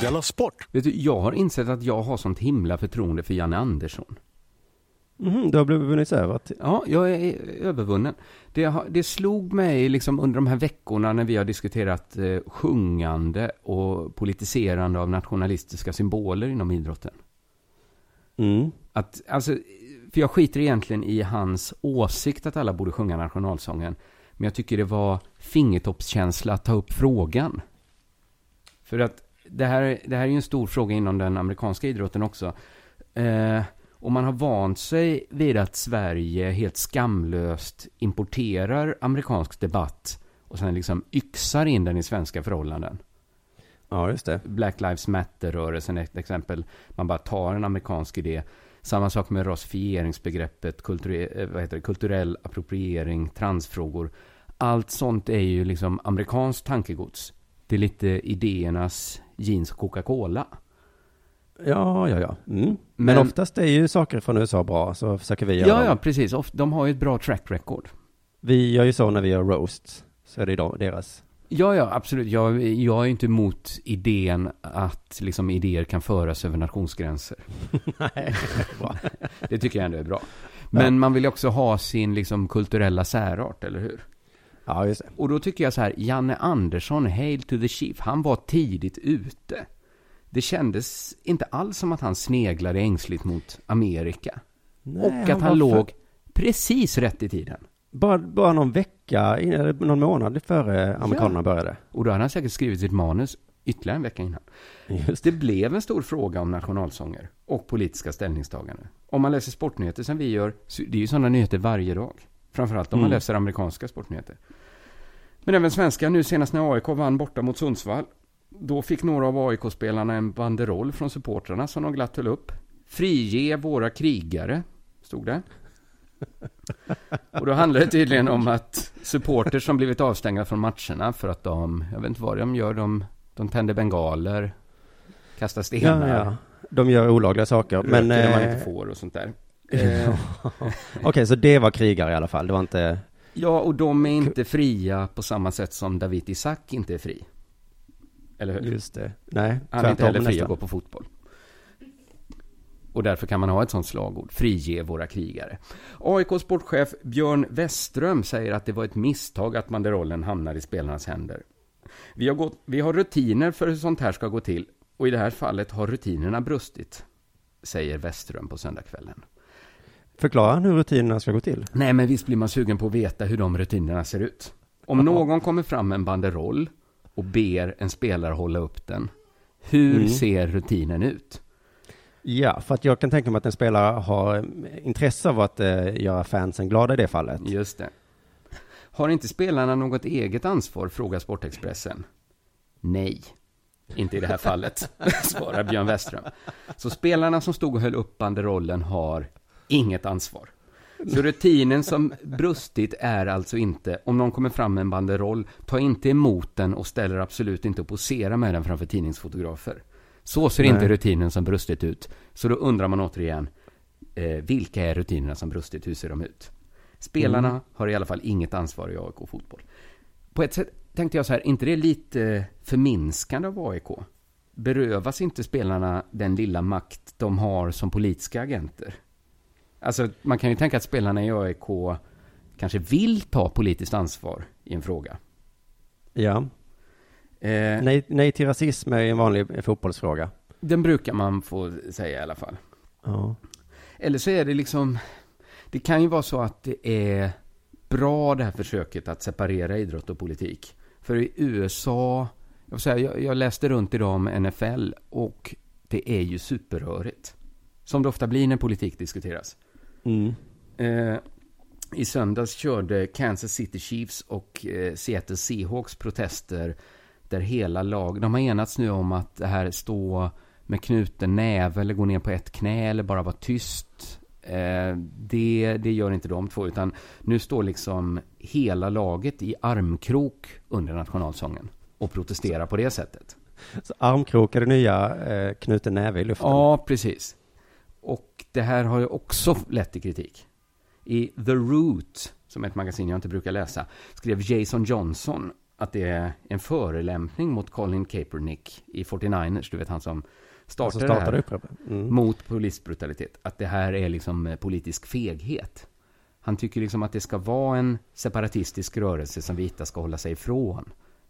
Della Sport!
Vet du, jag har insett att jag har sånt himla förtroende för Janne Andersson.
Mhm, du har blivit vunnits över till...
Ja, jag är övervunnen. Det, har- det slog mig liksom under de här veckorna när vi har diskuterat eh, sjungande och politiserande av nationalistiska symboler inom idrotten.
Mm.
Att, alltså, för jag skiter egentligen i hans åsikt att alla borde sjunga nationalsången. Men jag tycker det var fingertoppskänsla att ta upp frågan. För att det här, det här är ju en stor fråga inom den amerikanska idrotten också. Eh, och man har vant sig vid att Sverige helt skamlöst importerar amerikansk debatt och sen liksom yxar in den i svenska förhållanden.
Ja, just det.
Black Lives Matter-rörelsen är ett exempel. Man bara tar en amerikansk idé. Samma sak med rasifieringsbegreppet, kulture- eh, vad heter det, kulturell appropriering, transfrågor. Allt sånt är ju liksom amerikanskt tankegods. Det är lite idéernas jeans och Coca-Cola.
Ja, ja, ja. Mm. Men,
Men-
oftast är ju saker från USA bra, så försöker vi göra
Ja, ja,
dem.
precis. Of- De har ju ett bra track record.
Vi gör ju så när vi gör roast, så är det de- deras.
Ja, ja, absolut. Jag, jag är ju inte emot idén att liksom, idéer kan föras över nationsgränser.
Nej, bra.
Det tycker jag ändå är bra. Men man vill ju också ha sin liksom kulturella särart, eller hur?
Ja, just det.
Och då tycker jag så här, Janne Andersson, Hail to the Chief, han var tidigt ute. Det kändes inte alls som att han sneglade ängsligt mot Amerika.
Nej,
och att han,
var
låg
för-
precis rätt i tiden.
Bara, bara någon vecka, in- eller någon månad före amerikanerna började.
Och då hade han säkert skrivit sitt manus ytterligare en vecka innan.
Just
Det blev en stor fråga om nationalsånger och politiska ställningstaganden. Om man läser sportnyheter som vi gör, så det är ju sådana nyheter varje dag. Framförallt om man
Mm.
läser amerikanska sportnyheter. Men även svenska, nu senast när AIK vann borta mot Sundsvall. Då fick några av AIK-spelarna en banderoll från supportrarna som de glatt höll upp. Frige våra krigare, stod det. Och då handlar det tydligen om att supporter som blivit avstängda från matcherna för att de, jag vet inte vad de gör, de, de tänder bengaler, kastar stenar,
Ja, ja. De gör olagliga saker,
röker
men...
när man
eh,
inte får och sånt där.
Eh, Okej, så det var krigare i alla fall. Det var inte...
Ja, och de är inte fria på samma sätt som David Isak inte är fri. Eller hur?
Just det. Nej,
Han är inte
tvärtom
heller fri att
nästan.
gå på fotboll. Och därför kan man ha ett sånt slagord, frige våra krigare. AIKs sportchef Björn Westström säger att det var ett misstag att banderollen hamnade i spelarnas händer. Vi har, gått, vi har rutiner för hur sånt här ska gå till och i det här fallet har rutinerna brustit, säger Westström på söndagskvällen.
Förklara hur rutinerna ska gå till.
Nej, men visst blir man sugen på att veta hur de rutinerna ser ut. Om någon kommer fram med en banderoll och ber en spelare hålla upp den, hur
Mm.
ser rutinen ut?
Ja, för att jag kan tänka mig att en spelare har eh, intresse av att eh, göra fansen glada i det fallet.
Just det. Har inte spelarna något eget ansvar, frågar Sportexpressen. Nej, inte i det här fallet, svarar Björn Westström. Så spelarna som stod och höll upp banderollen har inget ansvar. Så rutinen som brustit är alltså inte, om någon kommer fram med en banderoll, ta inte emot den och ställer absolut inte och posera med den framför tidningsfotografer. Så ser
Nej.
inte rutinen som brustit ut. Så då undrar man återigen, eh, vilka är rutinerna som brustit? Hur ser de ut? Spelarna har i alla fall inget ansvar i AIK fotboll. På ett sätt tänkte jag så här, inte det är lite förminskande av AIK? Berövas inte spelarna den lilla makt de har som politiska agenter? Alltså, man kan ju tänka att spelarna i AIK kanske vill ta politiskt ansvar i en fråga.
Ja.
Eh,
Nej, nej till rasism är ju en vanlig eh, fotbollsfråga.
den brukar man få säga i alla fall.
Ja.
Eller så är det liksom... Det kan ju vara så att det är bra det här försöket att separera idrott och politik. För i USA... Jag, vill säga, jag, jag läste runt idag om NFL och det är ju superrörigt. Som det ofta blir när politik diskuteras.
Mm.
Eh, I söndags körde Kansas City Chiefs och eh, Seattle Seahawks protester där hela lag, de har enats nu om att det här stå med knuten näve eller gå ner på ett knä eller bara vara tyst. Eh, det, det gör inte de två, utan nu står liksom hela laget i armkrok under nationalsången och protesterar på det sättet.
Så armkrok är det nya, eh, knuten näve i luften.
Ja, precis. Och det här har ju också lett till kritik. I The Root, som är ett magasin jag inte brukar läsa, skrev Jason Johnson att det är en förelämpning mot Colin Kaepernick i 49ers, du vet han som startade,
Så
det här
startar det upproret. Mm.
mot polisbrutalitet. Att det här är liksom eh, politisk feghet. Han tycker liksom att det ska vara en separatistisk rörelse som vita ska hålla sig ifrån.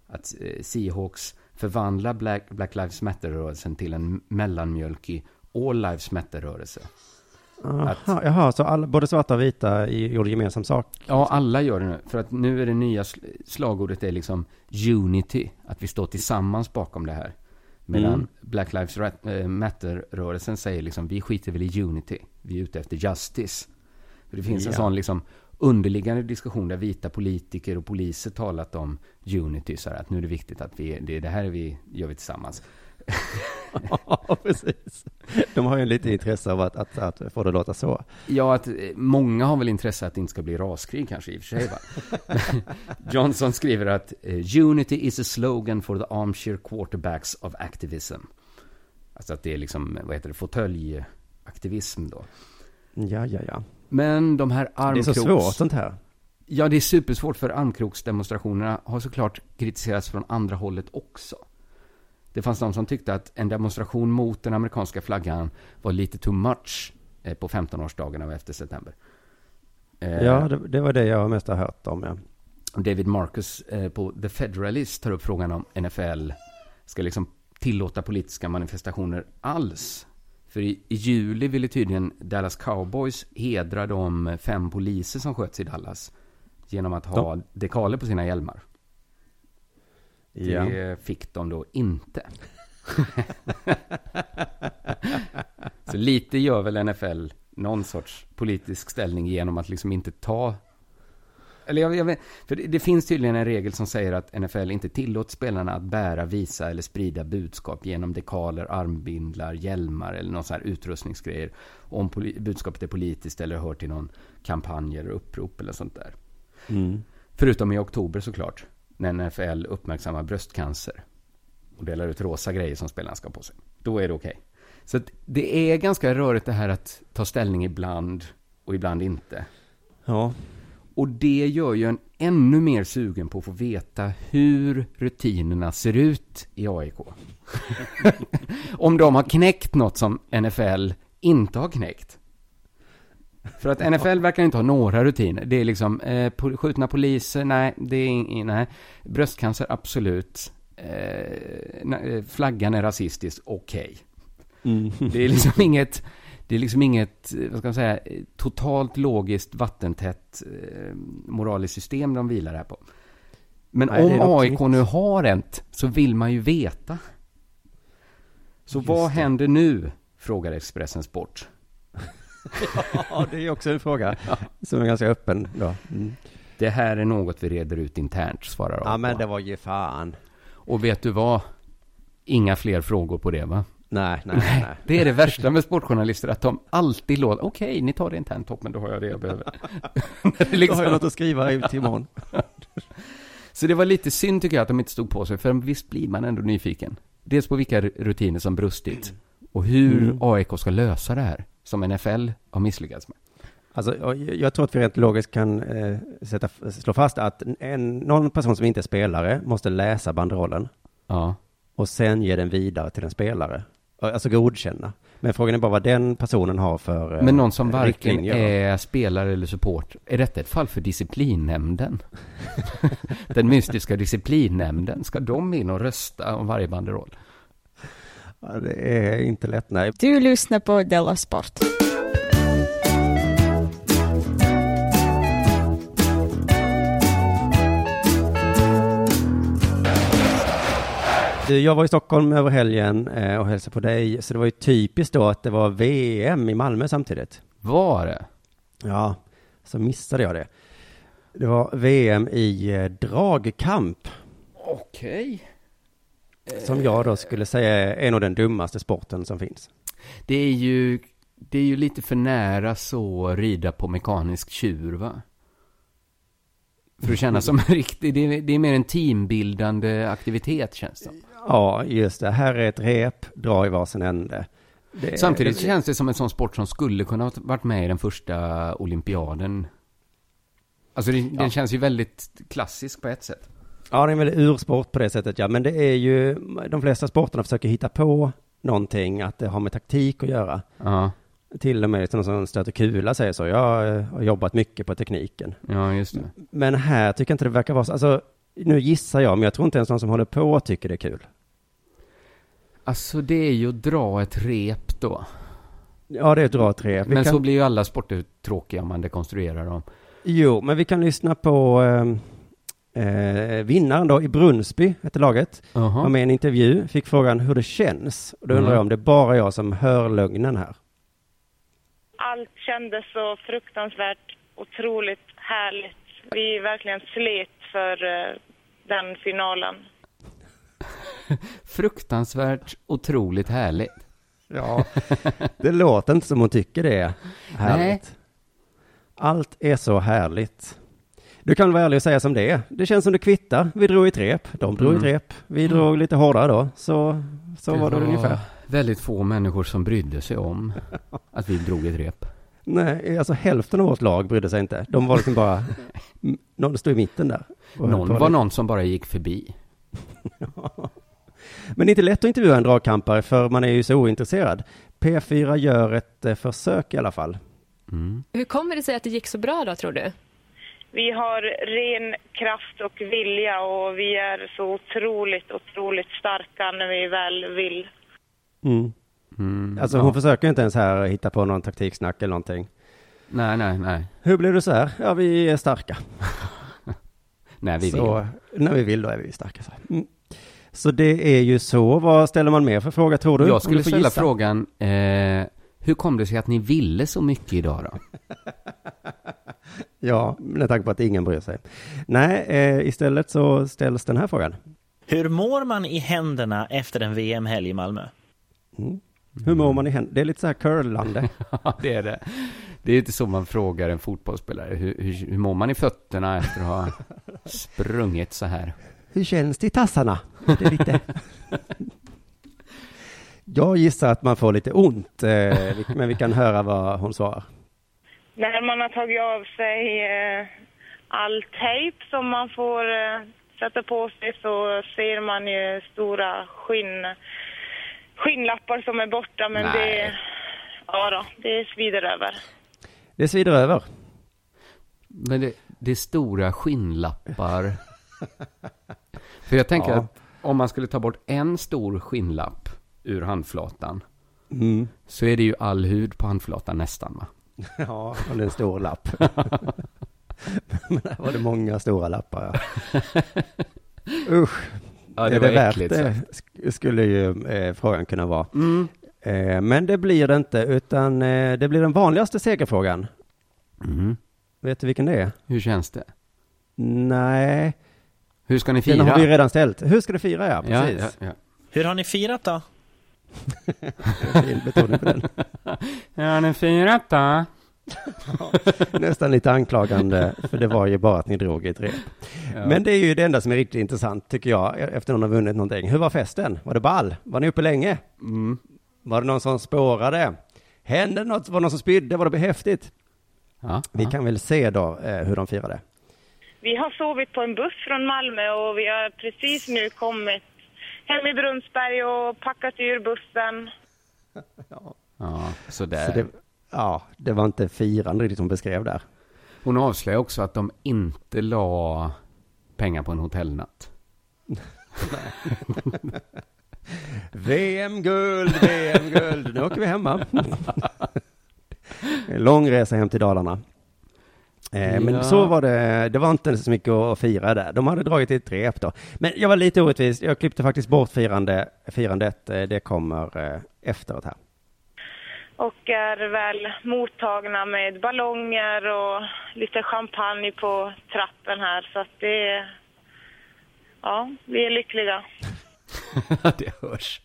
Att eh, Seahawks förvandlar Black, Black Lives Matter-rörelsen till en mellanmjölkig All Lives Matter-rörelse.
Aha, Jaha, så all, både svarta och vita i- gjorde gemensam sak?
Ja, alla gör det nu. För att nu är det nya sl- slagordet är liksom unity. Att vi står tillsammans bakom det här. Medan
Mm.
Black Lives Ra- eh, Matter-rörelsen säger liksom vi skiter väl i unity. Vi är ute efter justice. För det finns en
Ja.
sån liksom underliggande diskussion där vita politiker och poliser talat om unity. Så här, att nu är det viktigt att vi, det, är det här vi gör vi tillsammans.
Ja, precis. De har ju lite intresse av att, att, att få det att låta så.
Ja, att eh, många har väl intresse att det inte ska bli raskrig kanske i och för sig. Va? Johnson skriver att eh, Unity is a slogan for the armchair quarterbacks of activism. Alltså att det är liksom, eh, vad heter det, fåtöljaktivism då.
Ja, ja, ja.
Men de här
Det är
armkroks...
så svårt sånt här.
Ja, det är supersvårt för armkroksdemonstrationerna har såklart kritiserats från andra hållet också. Det fanns de som tyckte att en demonstration mot den amerikanska flaggan var lite too much eh, på 15-årsdagen av 11 september. Eh,
Ja, det, det var det jag mest har hört om, ja.
David Marcus eh, på The Federalist tar upp frågan om NFL ska liksom tillåta politiska manifestationer alls. För i, i juli ville tydligen Dallas Cowboys hedra de fem poliser som sköts i Dallas genom att ha dekaler på sina hjälmar.
ja.
Det fick de då inte. Så lite gör väl NFL någon sorts politisk ställning genom att liksom inte ta... Eller jag, jag vet, för det, det finns tydligen en regel som säger att NFL inte tillåts spelarna att bära, visa eller sprida budskap genom dekaler, armbindlar, hjälmar eller någon sån här utrustningsgrejer. Om poli- budskapet är politiskt eller hör till någon kampanj eller upprop eller sånt där.
Mm.
Förutom i oktober såklart, när NFL uppmärksammar bröstcancer och delar ut rosa grejer som spelarna ska ha på sig. Då är det okej. Så att det är ganska rörigt det här att ta ställning ibland och ibland inte.
Ja.
Och det gör ju en ännu mer sugen på att få veta hur rutinerna ser ut i AIK. Om de har knäckt något som NFL inte har knäckt. För att NFL verkar inte ha några rutiner. Det är liksom eh, pol- skjutna poliser, nej, det är in, nej. Bröstcancer, absolut. Eh, nej, eh, flaggan är rasistisk, okej.
Mm.
Det är liksom inget, det är liksom inget, eh, vad ska man säga, eh, totalt logiskt vattentätt eh, moraliskt system de vilar här på. Men
Nej, det är
om
något
AIK
nytt.
nu har ett, så vill man ju veta. Så vad händer nu? Frågar Expressen Sport.
ja, det är också en fråga som är ganska öppen då. Mm.
Det här är något vi reder ut internt, svarar AIK.
Ja, men det var ju fan.
Och vet du vad? Inga fler frågor på det, va?
Nej, nej, nej. nej.
Det är det värsta med sportjournalister, att de alltid låter, okej, ni tar det internt, toppen, då har jag det jag behöver. Det är
Då
liksom-
har jag något att skriva ut till imorgon.
Så det var lite synd tycker jag att de inte stod på sig, för visst blir man ändå nyfiken. Dels på vilka rutiner som brustit och hur AIK ska lösa det här, som NFL har misslyckats med.
Alltså, jag, jag tror att vi rent logiskt kan eh, sätta, slå fast att en, någon person som inte är spelare måste läsa banderollen
Ja,
och sen ge den vidare till en spelare. Alltså godkänna. Men frågan är bara vad den personen har för eh,
men någon som varken
riktlinjer.
är spelare eller support, är detta ett fall för disciplinnämnden? Den mystiska disciplinnämnden, ska de in och rösta om varje banderoll?
Ja, det är inte lätt, nej.
Du lyssnar på Della Sport.
Du, jag var i Stockholm över helgen eh, och hälsade på dig, så det var ju typiskt då att det var VM i Malmö samtidigt.
Var det?
Ja, så missade jag det. Det var VM i eh, dragkamp,
Okej.
som jag då skulle säga är en av den dummaste sporten som finns.
Det är ju, det är ju lite för nära så rida på mekanisk tjur, va? För att känna som en riktig, det är, det är mer en teambildande aktivitet känns det som.
Ja, just det. Här är ett rep, dra i varsin ände. Det,
Samtidigt känns det som en sån sport som skulle kunna ha varit med i den första olympiaden. Alltså det, den känns ju väldigt klassisk på ett sätt.
Ja, det är väl ursport på det sättet, ja. Men det är ju, de flesta sporterna försöker hitta på någonting, att det har med taktik att göra.
Ja,
Till och med sådana som stöter kula säger så. Jag eh, har jobbat mycket på tekniken.
ja just det.
Men här tycker jag inte det verkar vara så. Alltså, nu gissar jag, men jag tror inte ens någon som håller på tycker det är kul.
Alltså det är ju att dra ett rep då.
Ja, det är ett bra rep. Vi
Men
kan...
så blir ju alla sporter tråkiga om man dekonstruerar dem.
Jo, men vi kan lyssna på eh, eh, vinnaren då i Brunsby, hette laget.
Jaha.
var med i en intervju, fick frågan hur det känns. Och då undrar
Mm.
jag om det är bara jag som hör lögnen här.
Allt kändes så fruktansvärt otroligt härligt. Vi verkligen slet för eh, den finalen.
Fruktansvärt otroligt härligt.
Ja, det låter inte som hon tycker det är härligt.
Nej.
Allt är så härligt. Du kan vara ärlig och säga som det är. Det känns som det kvittar. Vi drog i trep, de drog
Mm.
i trep. Vi drog lite hårdare då, så, så var det ungefär.
väldigt få människor som brydde sig om att vi drog ett rep.
Nej, alltså hälften av vårt lag brydde sig inte. De var liksom bara, m- någon stod i mitten där. och höll på
Någon var
lite.
någon som bara gick förbi.
Men det är inte lätt att intervjua en dragkampare för man är ju så ointresserad. P4 gör ett eh, försök i alla fall.
Hur kommer det sig att det gick så bra då, tror du?
Vi har ren kraft och vilja och vi är så otroligt, otroligt starka när vi väl vill.
Mm. alltså hon försöker ju inte ens här hitta på någon taktiksnack eller någonting.
Nej, nej, nej.
Hur blir du så här? Ja, vi är starka.
Nej, vi
så,
vill.
När vi vill, då är vi starka. Så. här. Mm. så det är ju så. Vad ställer man mer för fråga, tror du? Om
Jag
du
skulle
får
ställa
gissa.
frågan, eh, hur kom det sig att ni ville så mycket idag då?
Ja, med tanke på att ingen bryr sig. Nej, eh, istället så ställs den här frågan.
Hur mår man i händerna efter en VM-helg i Malmö?
Hur mår man i händerna? Det är lite så här curlande.
Ja, det är det. Det är inte så man frågar en fotbollsspelare. Hur, hur, hur mår man i fötterna efter att ha sprungit så här?
Hur känns det i tassarna? Det är lite... Jag gissar att man får lite ont, eh, vi- men vi kan höra vad hon svarar.
När man har tagit av sig eh, all tejp som man får eh, sätta på sig så ser man ju stora skinn, skinnlappar som är borta men
Nej.
det, ja då, det svider över.
Det svider över.
Men det, det är stora skinnlappar. För jag tänker
Ja.
att om man skulle ta bort en stor skinnlapp ur handflatan
Mm.
så är det ju all hud på handflatan nästan va?
Ja, och det är en stor lapp. men där var det många stora lappar. Ja. Usch,
Ja,
är det värt
äckligt,
det?
så.
Sk- Skulle ju eh, frågan kunna vara.
Mm.
Eh, men det blir det inte, utan eh, det blir den vanligaste segerfrågan.
Mm.
Vet du vilken det är?
Hur känns det?
Nej,
Hur ska ni
den
fira?
har vi redan ställt. Hur ska du fira? Ja,
ja,
precis.
ja, ja.
Hur har ni firat då?
Fin betoning på den.
ja, ni firat då?
Nästan lite anklagande, för det var ju bara att ni drog i ett rep. Men det är ju det enda som är riktigt intressant, tycker jag, efter någon har vunnit någonting. Hur var festen? Var det ball? Var ni uppe länge? Var det någon som spårade? Hände något? Var det någon som spydde? Var det häftigt?
Ja,
Vi
ja.
kan väl se då eh, hur de firade.
Vi har sovit på en buss från Malmö och vi har precis nu kommit hem i Brunnsberg och packat ur bussen.
ja sådär.
Så det, ja, det var inte firande riktigt som beskrev där.
Hon avslöjar också att de inte la pengar på en hotellnatt.
VM-guld, VM-guld, nu åker vi hemma. Lång resa hem till Dalarna. Eh, men
Ja.
så var det, det var inte så mycket att fira där. De hade dragit i ett rep då. Men jag var lite orättvis, jag klippte faktiskt bort firande, firandet, Eh, det kommer eh, efteråt här.
och är väl mottagna med ballonger och lite champagne på trappen här. Så att det... Ja, vi är lyckliga.
det hörs.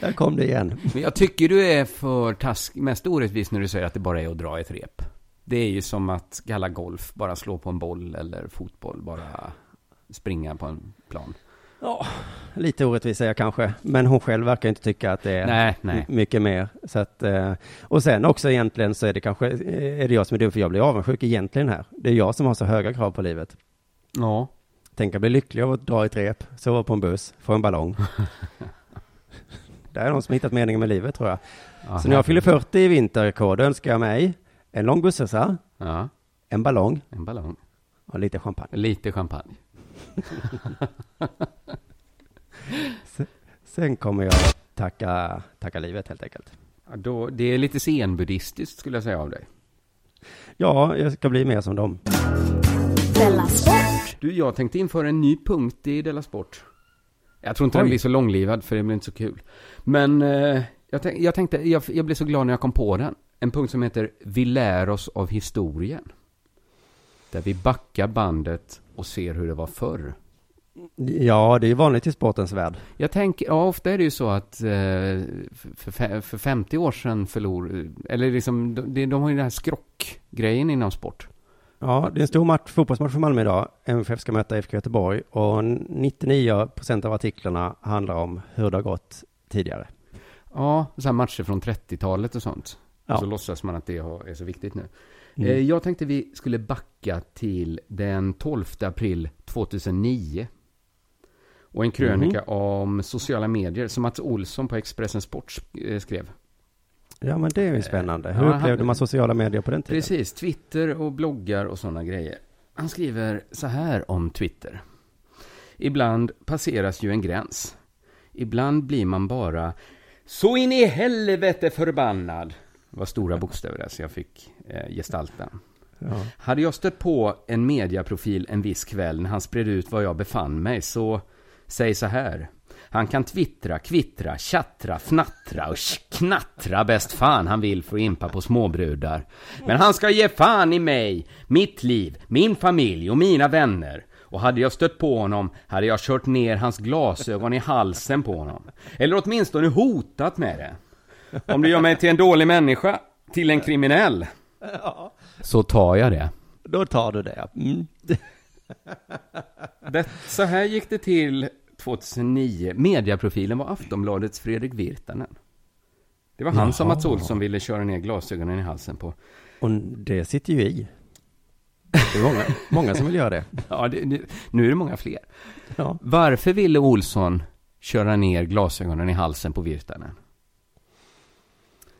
Där kom det igen.
Men jag tycker du är för task, mest orättvis när du säger att det bara är att dra ett rep. Det är ju som att kalla golf bara slå på en boll eller fotboll bara springa på en plan.
Ja, lite orättvis är jag kanske, men hon själv verkar inte tycka att det är
Nej, nej.
m- mycket mer. Så att, eh, och sen också egentligen så är det kanske, eh, är det jag som är dum för jag blir avundsjuk egentligen här. Det är jag som har så höga krav på livet.
Ja.
Tänk att bli lycklig av att dra i ett rep, sova på en buss, få en ballong. Där är någon som hittat meningen med livet tror jag. Så när jag fyller 40 i vinterrekord önskar jag mig en lång bussresa,
Ja,
en ballong
en ballong.
och lite champagne.
Lite champagne.
Sen kommer jag tacka, tacka livet helt enkelt.
Ja, då, det är lite zenbuddhistiskt skulle jag säga av dig.
Ja, jag ska bli mer som dem.
Della Sport.
Du, jag tänkte införa en ny punkt i Della Sport. Jag tror inte den
Oj.
blir så långlivad, för det blir inte så kul. Men eh, jag, tänk, jag tänkte, jag, jag blev så glad när jag kom på den. En punkt som heter Vi lär oss av historien. Där vi backar bandet och ser hur det var förr.
Ja, det är ju vanligt i sportens värld.
Jag tänker, ja, ofta är det ju så att eh, för, fe- för 50 år sedan förlor, eller liksom, de, de- de har ju den här skrockgrejen inom sport.
Ja, det är en stor match, fotbollsmatch för Malmö idag. MFF ska möta IFK Göteborg och 99 procent av artiklarna handlar om hur det har gått tidigare.
Ja, så här matcher från 30-talet och sånt.
Ja.
Och så låtsas man att det har- är så viktigt nu. Eh, Jag tänkte vi skulle backa till den 12 april 2009. Och en krönika om sociala medier som Mats Olsson på Expressen Sport sk- eh, skrev.
Ja, men det är ju spännande. Hur
Ja, han-
upplevde man sociala medier på den tiden?
Precis, Twitter och bloggar och sådana grejer. Han skriver så här om Twitter. Ibland passeras ju en gräns. Ibland blir man bara så in i helvete förbannad. Det var stora bokstäver där, så jag fick eh, gestalta.
Ja.
Hade jag stött på en mediaprofil en viss kväll när han spred ut var jag befann mig, så säg så här. Han kan twittra, kvittra, tjattra, fnattra och sh- knattra bäst fan han vill för att impa på småbrudar. Men han ska ge fan i mig, mitt liv, min familj och mina vänner. Och hade jag stött på honom hade jag kört ner hans glasögon i halsen på honom. Eller åtminstone hotat med det. Om du gör mig till en dålig människa, till en kriminell, så tar jag det.
Då tar du det. Mm.
Det, så här gick det till 2009. Mediaprofilen var Aftonbladets Fredrik Virtanen. Det var han som Mats Olsson ville köra ner glasögonen i halsen på.
Och det sitter ju i. Det är många, många som vill göra det.
Ja, det, nu, nu är det många fler.
Ja.
Varför ville Olsson köra ner glasögonen i halsen på Virtanen?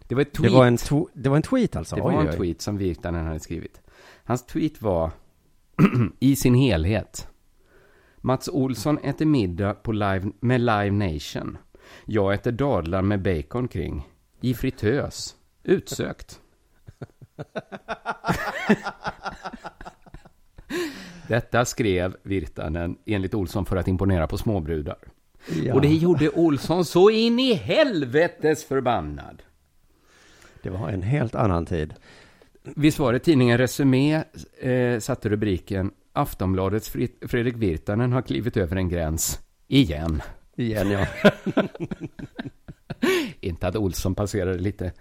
Det var ett
Det,
tweet.
var en tw- det var en tweet alltså?
Det var
Oj,
en
oj.
tweet som Virtanen hade skrivit. Hans tweet var i sin helhet. Mats Olsson äter middag på live, med Live Nation. Jag äter dadlar med bacon kring. I fritös. Utsökt. Detta skrev Virtanen enligt Olsson för att imponera på småbrudar.
Ja.
Och det gjorde Olsson så in i helvetes förbannad.
det var en helt annan tid.
Visst var det tidningen Resumé eh, satte rubriken Aftonbladets Fri- Fredrik Virtanen har klivit över en gräns. Igen.
Igen ja.
Inte att Olsson passerade lite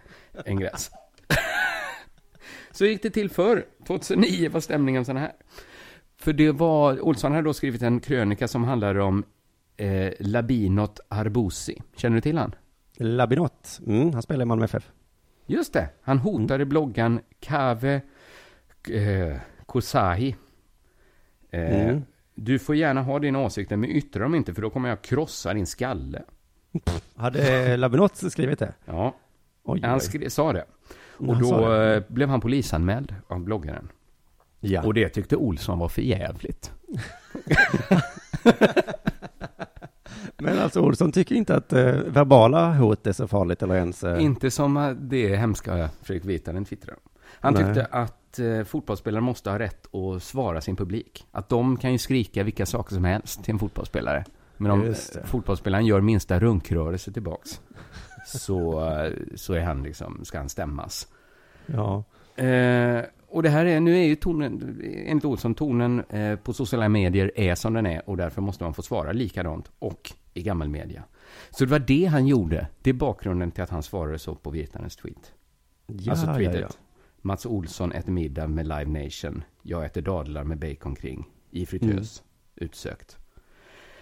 en gräns. Så gick det till förr. 2009 var stämningen sån här. För det var, Olsson hade då skrivit en krönika som handlade om eh, Labinot Arbusi. Känner du till han?
Labinot. Mm, han spelar i Malmö FF.
Just det, han hotade bloggaren Kave eh, Kosahi. Eh,
Mm.
Du får gärna ha dina åsikter, men yttra dem inte, för då kommer jag krossa din skalle.
Hade Labinot skrivit det?
Ja,
Oj,
han
oj.
skri- sa det. Och
Han sa
då
det.
eh, blev han polisanmäld av bloggaren.
Ja.
Och det tyckte Olsson var för jävligt.
Men alltså Olsson tycker inte att eh, verbala hot är så farligt eller ens... eh,
Inte som eh, det hemska Fredrik Virtanen twittrade om. Han
Nej.
tyckte att eh, fotbollsspelare måste ha rätt att svara sin publik. Att de kan ju skrika vilka saker som helst till en fotbollsspelare. Men om
Just det.
eh, fotbollsspelaren gör minsta runkrörelse tillbaks så, eh, så är han liksom, ska han stämmas.
Ja.
Eh, och det här är, nu är ju tonen, enligt Olsson, tonen eh, på sociala medier är som den är och därför måste man få svara likadant och i gammal media. Så det var det han gjorde. Det är bakgrunden till att han svarade så på Virtanens tweet.
Ja,
alltså
ja,
tweetet.
ja.
Mats Olsson äter middag med Live Nation. Jag äter dadlar med bacon kring. I fritös. Utsökt.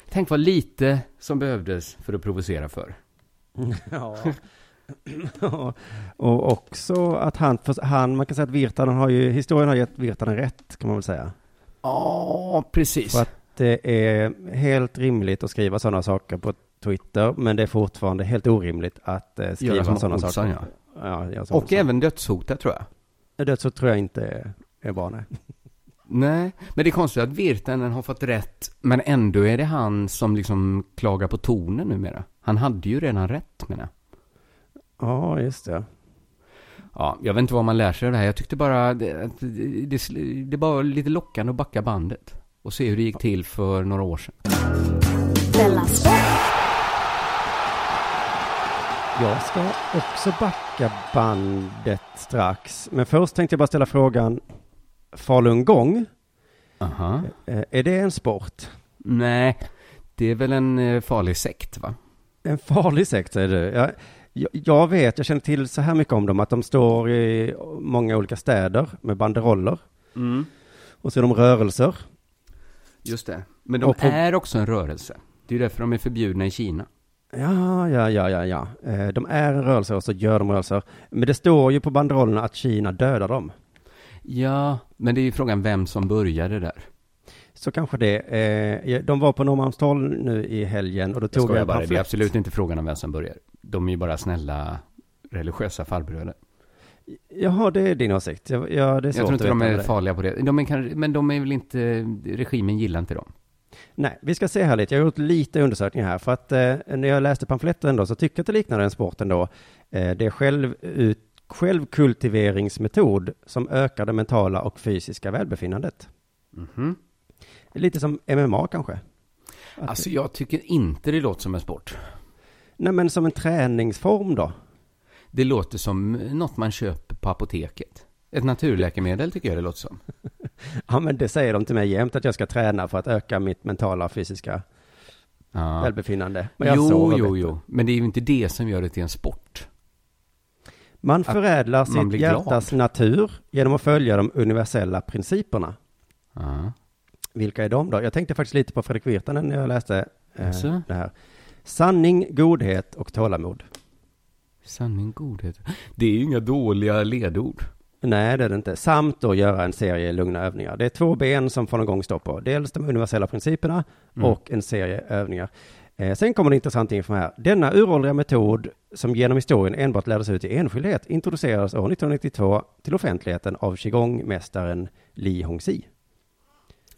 Tänk vad lite som behövdes för att provocera för.
Ja. Ja. och också att han, för han, man kan säga att Virtanen har ju, historien har gett Virtanen rätt kan man väl säga.
Ja, precis.
För att det är helt rimligt att skriva sådana saker på Twitter, men det är fortfarande helt orimligt att eh,
Göra
skriva
som
sådana
Olsson,
saker.
ja.
Ja, göra som
Och
Olsson.
även dödshotet tror jag.
Det så tror jag inte är- är bra, nej.
Nej, men det är konstigt att Virtanen har fått rätt, men ändå är det han som liksom klagar på tonen numera. Han hade ju redan rätt menar jag.
Ja, just det.
Ja, jag vet inte vad man lär sig av det här. Jag tyckte bara det, att det, det, sl- det var lite lockande att backa bandet och se hur det gick till för några år sedan.
Della Sport!
Jag ska också backa bandet strax, men först tänkte jag bara ställa frågan, falungong,
Aha.
eh, är det en sport?
Nej, det är väl en eh, farlig sekt va?
En farlig sekt säger du. Jag, jag, jag vet, jag känner till så här mycket om dem, att de står i många olika städer med banderoller. Och så är de rörelser.
Mm, Just det. Men de
Och på-
är också en rörelse. Det är ju därför de är förbjudna i Kina.
Ja, ja, ja, ja, ja. Eh, De är en rörelse och så gör de rörelser. Men det står ju på banderollerna att Kina dödar dem.
Ja, men det är ju frågan vem som började där.
Så kanske det. eh, De var på Norrmalmstorg nu i helgen och då
Jag
tog
skojar
jag
bara, det är
pamflett.
absolut inte frågan om vem som börjar. De är ju bara snälla religiösa farbröder.
Jaha, det är din åsikt. Jag, ja, det är svårt
Jag tror inte
att
de
veta
är
det.
farliga på det. De är kanske, men de är väl inte, regimen gillar inte dem.
Nej, vi ska se här lite. Jag har gjort lite undersökningar här för att eh, när jag läste pamfletten då så tycker jag att det liknar en sport ändå. Eh, det är själv, ut, självkultiveringsmetod som ökar det mentala och fysiska välbefinnandet.
Mhm.
Lite som MMA kanske. Att-
Alltså jag tycker inte det låter som en sport.
Nej, men som en träningsform då.
Det låter som något man köper på apoteket. Ett naturläkemedel tycker jag det låter som.
Ja, men det säger de till mig jämt att jag ska träna för att öka mitt mentala och fysiska
Ja.
välbefinnande. Men jag
Jo,
sover
jo,
bättre.
jo. Men det är ju inte det som gör det till en sport.
Man förädlar sitt
blir glad.
hjärtas natur genom att följa de universella principerna.
Ja.
Vilka är de då? Jag tänkte faktiskt lite på Fredrik Virtanen när jag läste eh,
Jaså?
det här. Sanning, godhet och tålamod.
Sanning, godhet. Det är ju inga dåliga ledord.
Nej, det är det inte. Samt då göra en serie lugna övningar. Det är två ben som får någon gång stå på. Dels de universella principerna och en serie övningar. Eh, sen kommer det intressant info här. Denna uråldriga metod som genom historien enbart lärdes ut i enskildhet introducerades år 1992 till offentligheten av qigong-mästaren Li Hongxi.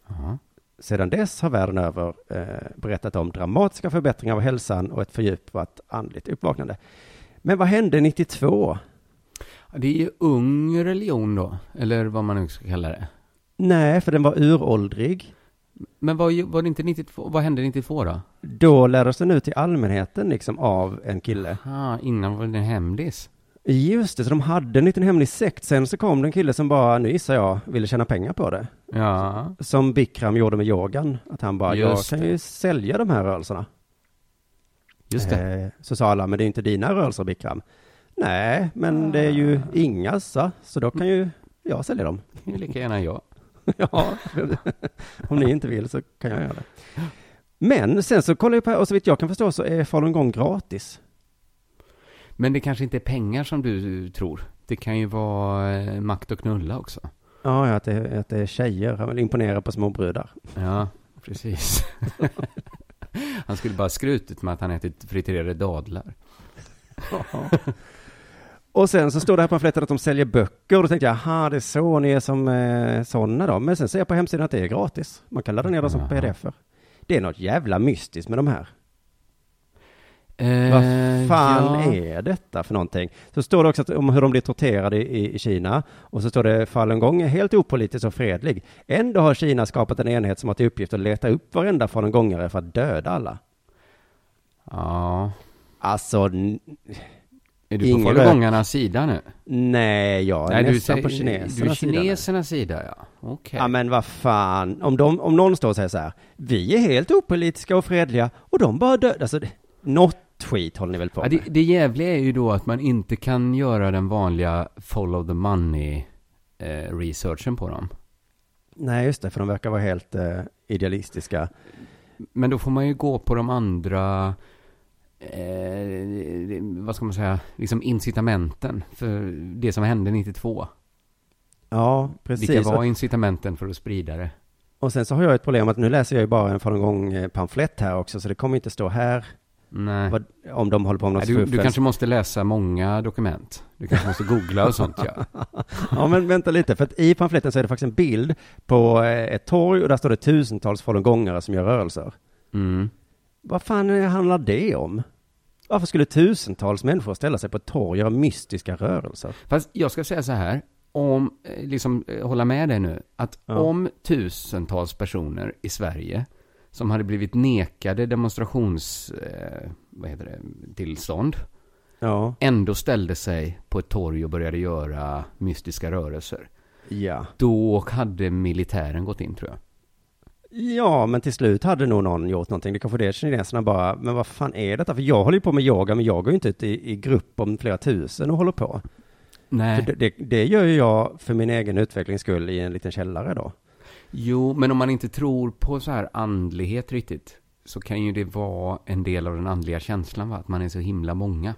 Ja.
Sedan dess har världen över eh, berättat om dramatiska förbättringar av hälsan och ett fördjupat andligt uppvaknande. Men vad hände 92?
Det är ju ung religion då, eller vad man nu ska kalla det.
Nej, för den var uråldrig.
Men var, var det inte 92, vad hände 92 då?
Då lärdes den ut till allmänheten liksom av en kille.
Ah, innan var det en hemlis.
Just det, så de hade en liten hemlig sekt. Sen så kom det en kille som bara, nu gissar jag, ville tjäna pengar på det.
Ja.
Som Bikram gjorde med yogan. Att han bara,
Just
jag kan ju sälja de här rörelserna.
Just det.
Eh, så sa alla, men det är ju inte dina rörelser Bikram. Nej, men det är ju ingas, va? så då kan ju jag sälja dem.
Det är lika gärna jag.
ja, om ni inte vill så kan jag göra det. Men sen så kollar jag på, och så vitt jag kan förstå så är falungong gratis.
Men det kanske inte är pengar som du eh, tror. Det kan ju vara eh, makt och knulla också.
Ja, ja, att det, att det är tjejer, han vill imponera på småbrudar.
Ja, precis. han skulle bara skrutit med att han ätit friterade dadlar.
och sen så står det här på pamfletten att de säljer böcker och då tänkte jag, aha, det är så ni är som eh, sådana då. Men sen ser jag på hemsidan att det är gratis. Man kan ladda ner dem som
Aha.
pdf -er. Det är något jävla mystiskt med de här.
Eh,
Vad fan
ja.
är detta för någonting? Så står det också att, om hur de blir torterade i, i Kina och så står det falungong är helt opolitisk och fredlig. Ändå har Kina skapat en enhet som har till uppgift att leta upp varenda falungongare för att döda alla.
Ja.
Alltså, n-
Är du
Ingen
på falungongarnas sida nu?
nej, jag är
du,
nästan
säger-
på
Du är
kinesernas sida. nu.
kinesernas sida, ja. Okej.
Ja men vad fan, om, de, om någon står och säger så här, vi är helt opolitiska och fredliga och de bara dödar, alltså det- något skit håller ni väl på
Ja,
med?
det, det jävliga är ju då att man inte kan göra den vanliga follow the money eh, researchen på dem.
Nej just det, för de verkar vara helt eh, idealistiska.
Men då får man ju gå på de andra, eh, vad ska man säga, liksom incitamenten för det som hände 92.
Ja, precis.
Vilka var
Och-
incitamenten för att sprida det?
Och sen så har jag ett problem att nu läser jag ju bara en falungong pamflett här också, så det kommer inte stå här
Nej.
vad, om de håller på med något
Nej, du, du
fuffens.
kanske måste läsa många dokument. Du kanske måste googla och sånt ja.
Ja, men vänta lite, för att i pamfletten så är det faktiskt en bild på eh, ett torg och där står det tusentals falungongare som gör rörelser.
Mm.
Vad fan eh, handlar det om? Varför skulle tusentals människor ställa sig på ett torg och göra mystiska rörelser?
Fast jag ska säga så här, om, eh, liksom eh, hålla med dig nu, att
Ja.
om tusentals personer i Sverige som hade blivit nekade demonstrations, eh, vad heter det, tillstånd,
Ja,
ändå ställde sig på ett torg och började göra mystiska rörelser,
ja.
då hade militären gått in tror jag.
Ja, men till slut hade nog någon gjort någonting. Det kanske det kineserna bara, men vad fan är detta? För jag håller ju på med yoga, men jag går ju inte ut i, i grupp om flera tusen och håller på. För
Nej,
det, det, det gör ju jag för min egen utvecklings skull i en liten källare då.
jo, men om man inte tror på så här andlighet riktigt, så kan ju det vara en del av den andliga känslan, va? att man är så himla många.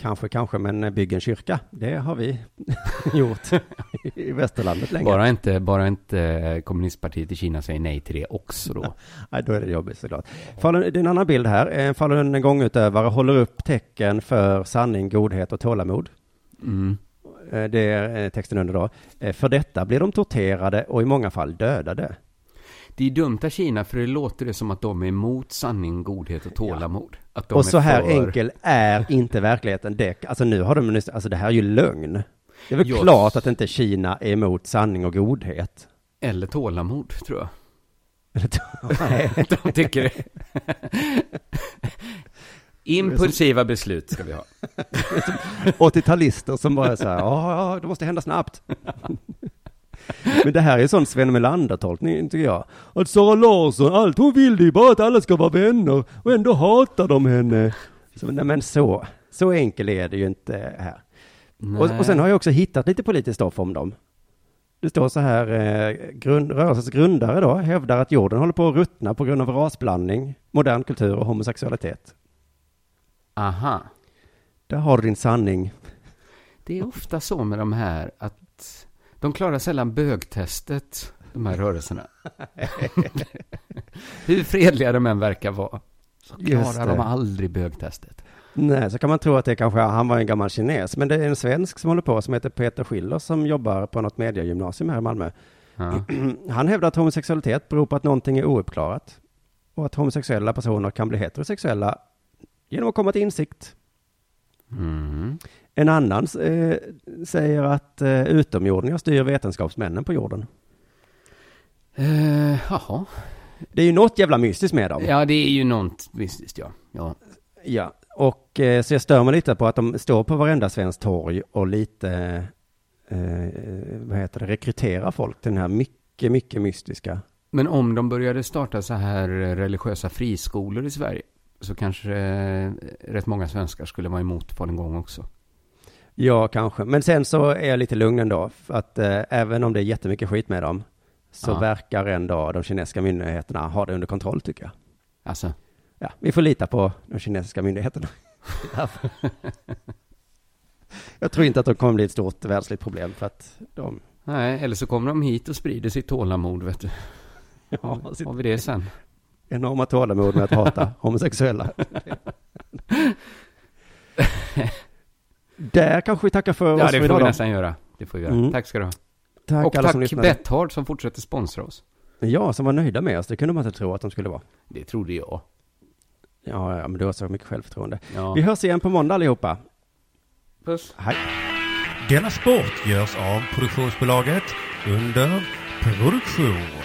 Kanske, kanske, men bygg en kyrka. Det har vi gjort i västerlandet länge.
Bara inte, bara inte kommunistpartiet i Kina säger nej till det också då.
Nej, då är det jobbigt såklart. Falun, det är en annan bild här. En falun gångutövare håller upp tecken för sanning, godhet och tålamod.
Mm.
Eh, Det är eh, texten under då. Eh, För detta blir de torterade och i många fall dödade.
Det är dumt av Kina för det låter det som att de är emot sanning, godhet och tålamod. Att de
och så
är
här
för-
enkel är inte verkligheten. Det, alltså nu har de, alltså det här är ju lögn. Det är väl
Ja.
klart att inte Kina är emot sanning och godhet.
Eller tålamod, tror jag.
Nej.
De tycker det. Impulsiva beslut ska vi ha.
80-talister som bara är så här, ja, ja, det måste hända snabbt. Men det här är sån Sven Melander-tolkning, tycker jag. Att Sara Larsson, allt hon vill det är ju bara att alla ska vara vänner, och ändå hatar de henne. Så, nej, men så, så enkel är det ju inte här. Och, och sen har jag också hittat lite politiskt stoff om dem. Det står så här, eh, grund, rörelsens grundare då hävdar att jorden håller på att ruttna på grund av rasblandning, modern kultur och homosexualitet.
Aha.
Där har du din sanning.
Det är ofta så med de här att de klarar sällan bögtestet, de här rörelserna. Hur fredliga de än verkar vara, så
Just
klarar
det.
de aldrig bögtestet.
Nej, så kan man tro att det kanske, han var en gammal kines, men det är en svensk som håller på som heter Peter Schiller som jobbar på något mediegymnasium här i Malmö.
Ja.
Han hävdar att homosexualitet beror på att någonting är ouppklarat och att homosexuella personer kan bli heterosexuella genom att komma till insikt.
Mm.
En annan eh, säger att eh, utomjordingar styr vetenskapsmännen på jorden.
Eh, jaha.
Det är ju något jävla mystiskt med dem.
Ja, det är ju något, visst, visst ja. ja.
Ja, och eh, så jag stör mig lite på att de står på varenda svenskt torg och lite, eh, vad heter det, rekryterar folk till den här mycket, mycket mystiska.
Men om de började starta så här eh, religiösa friskolor i Sverige så kanske eh, rätt många svenskar skulle vara emot på en gång också.
Ja, kanske. Men sen så är jag lite lugn ändå, för att eh, även om det är jättemycket skit med dem, så
Ja.
verkar ändå de kinesiska myndigheterna ha det under kontroll tycker jag.
Alltså,
Ja, vi får lita på de kinesiska myndigheterna. jag tror inte att de kommer bli ett stort världsligt problem för att de,
nej, eller så kommer de hit och sprider sitt tålamod, vet du.
ja, sitt-
Har vi det sen?
enorma tålamod med att hata homosexuella. Där kanske vi tackar för
Ja,
oss
det
för
får
idag.
vi
då.
nästan göra. Det får vi göra.
Mm.
Tack ska du ha.
Tack
och
alla som
tack
lyssnade.
Betthard som fortsätter sponsra oss.
Ja, som var nöjda med oss. Det kunde man inte tro att de skulle vara.
Det trodde jag.
Ja, ja men du har så mycket självförtroende.
Ja.
Vi hörs igen på måndag allihopa.
Puss.
Hej.
Denna sport görs av produktionsbolaget under produktion.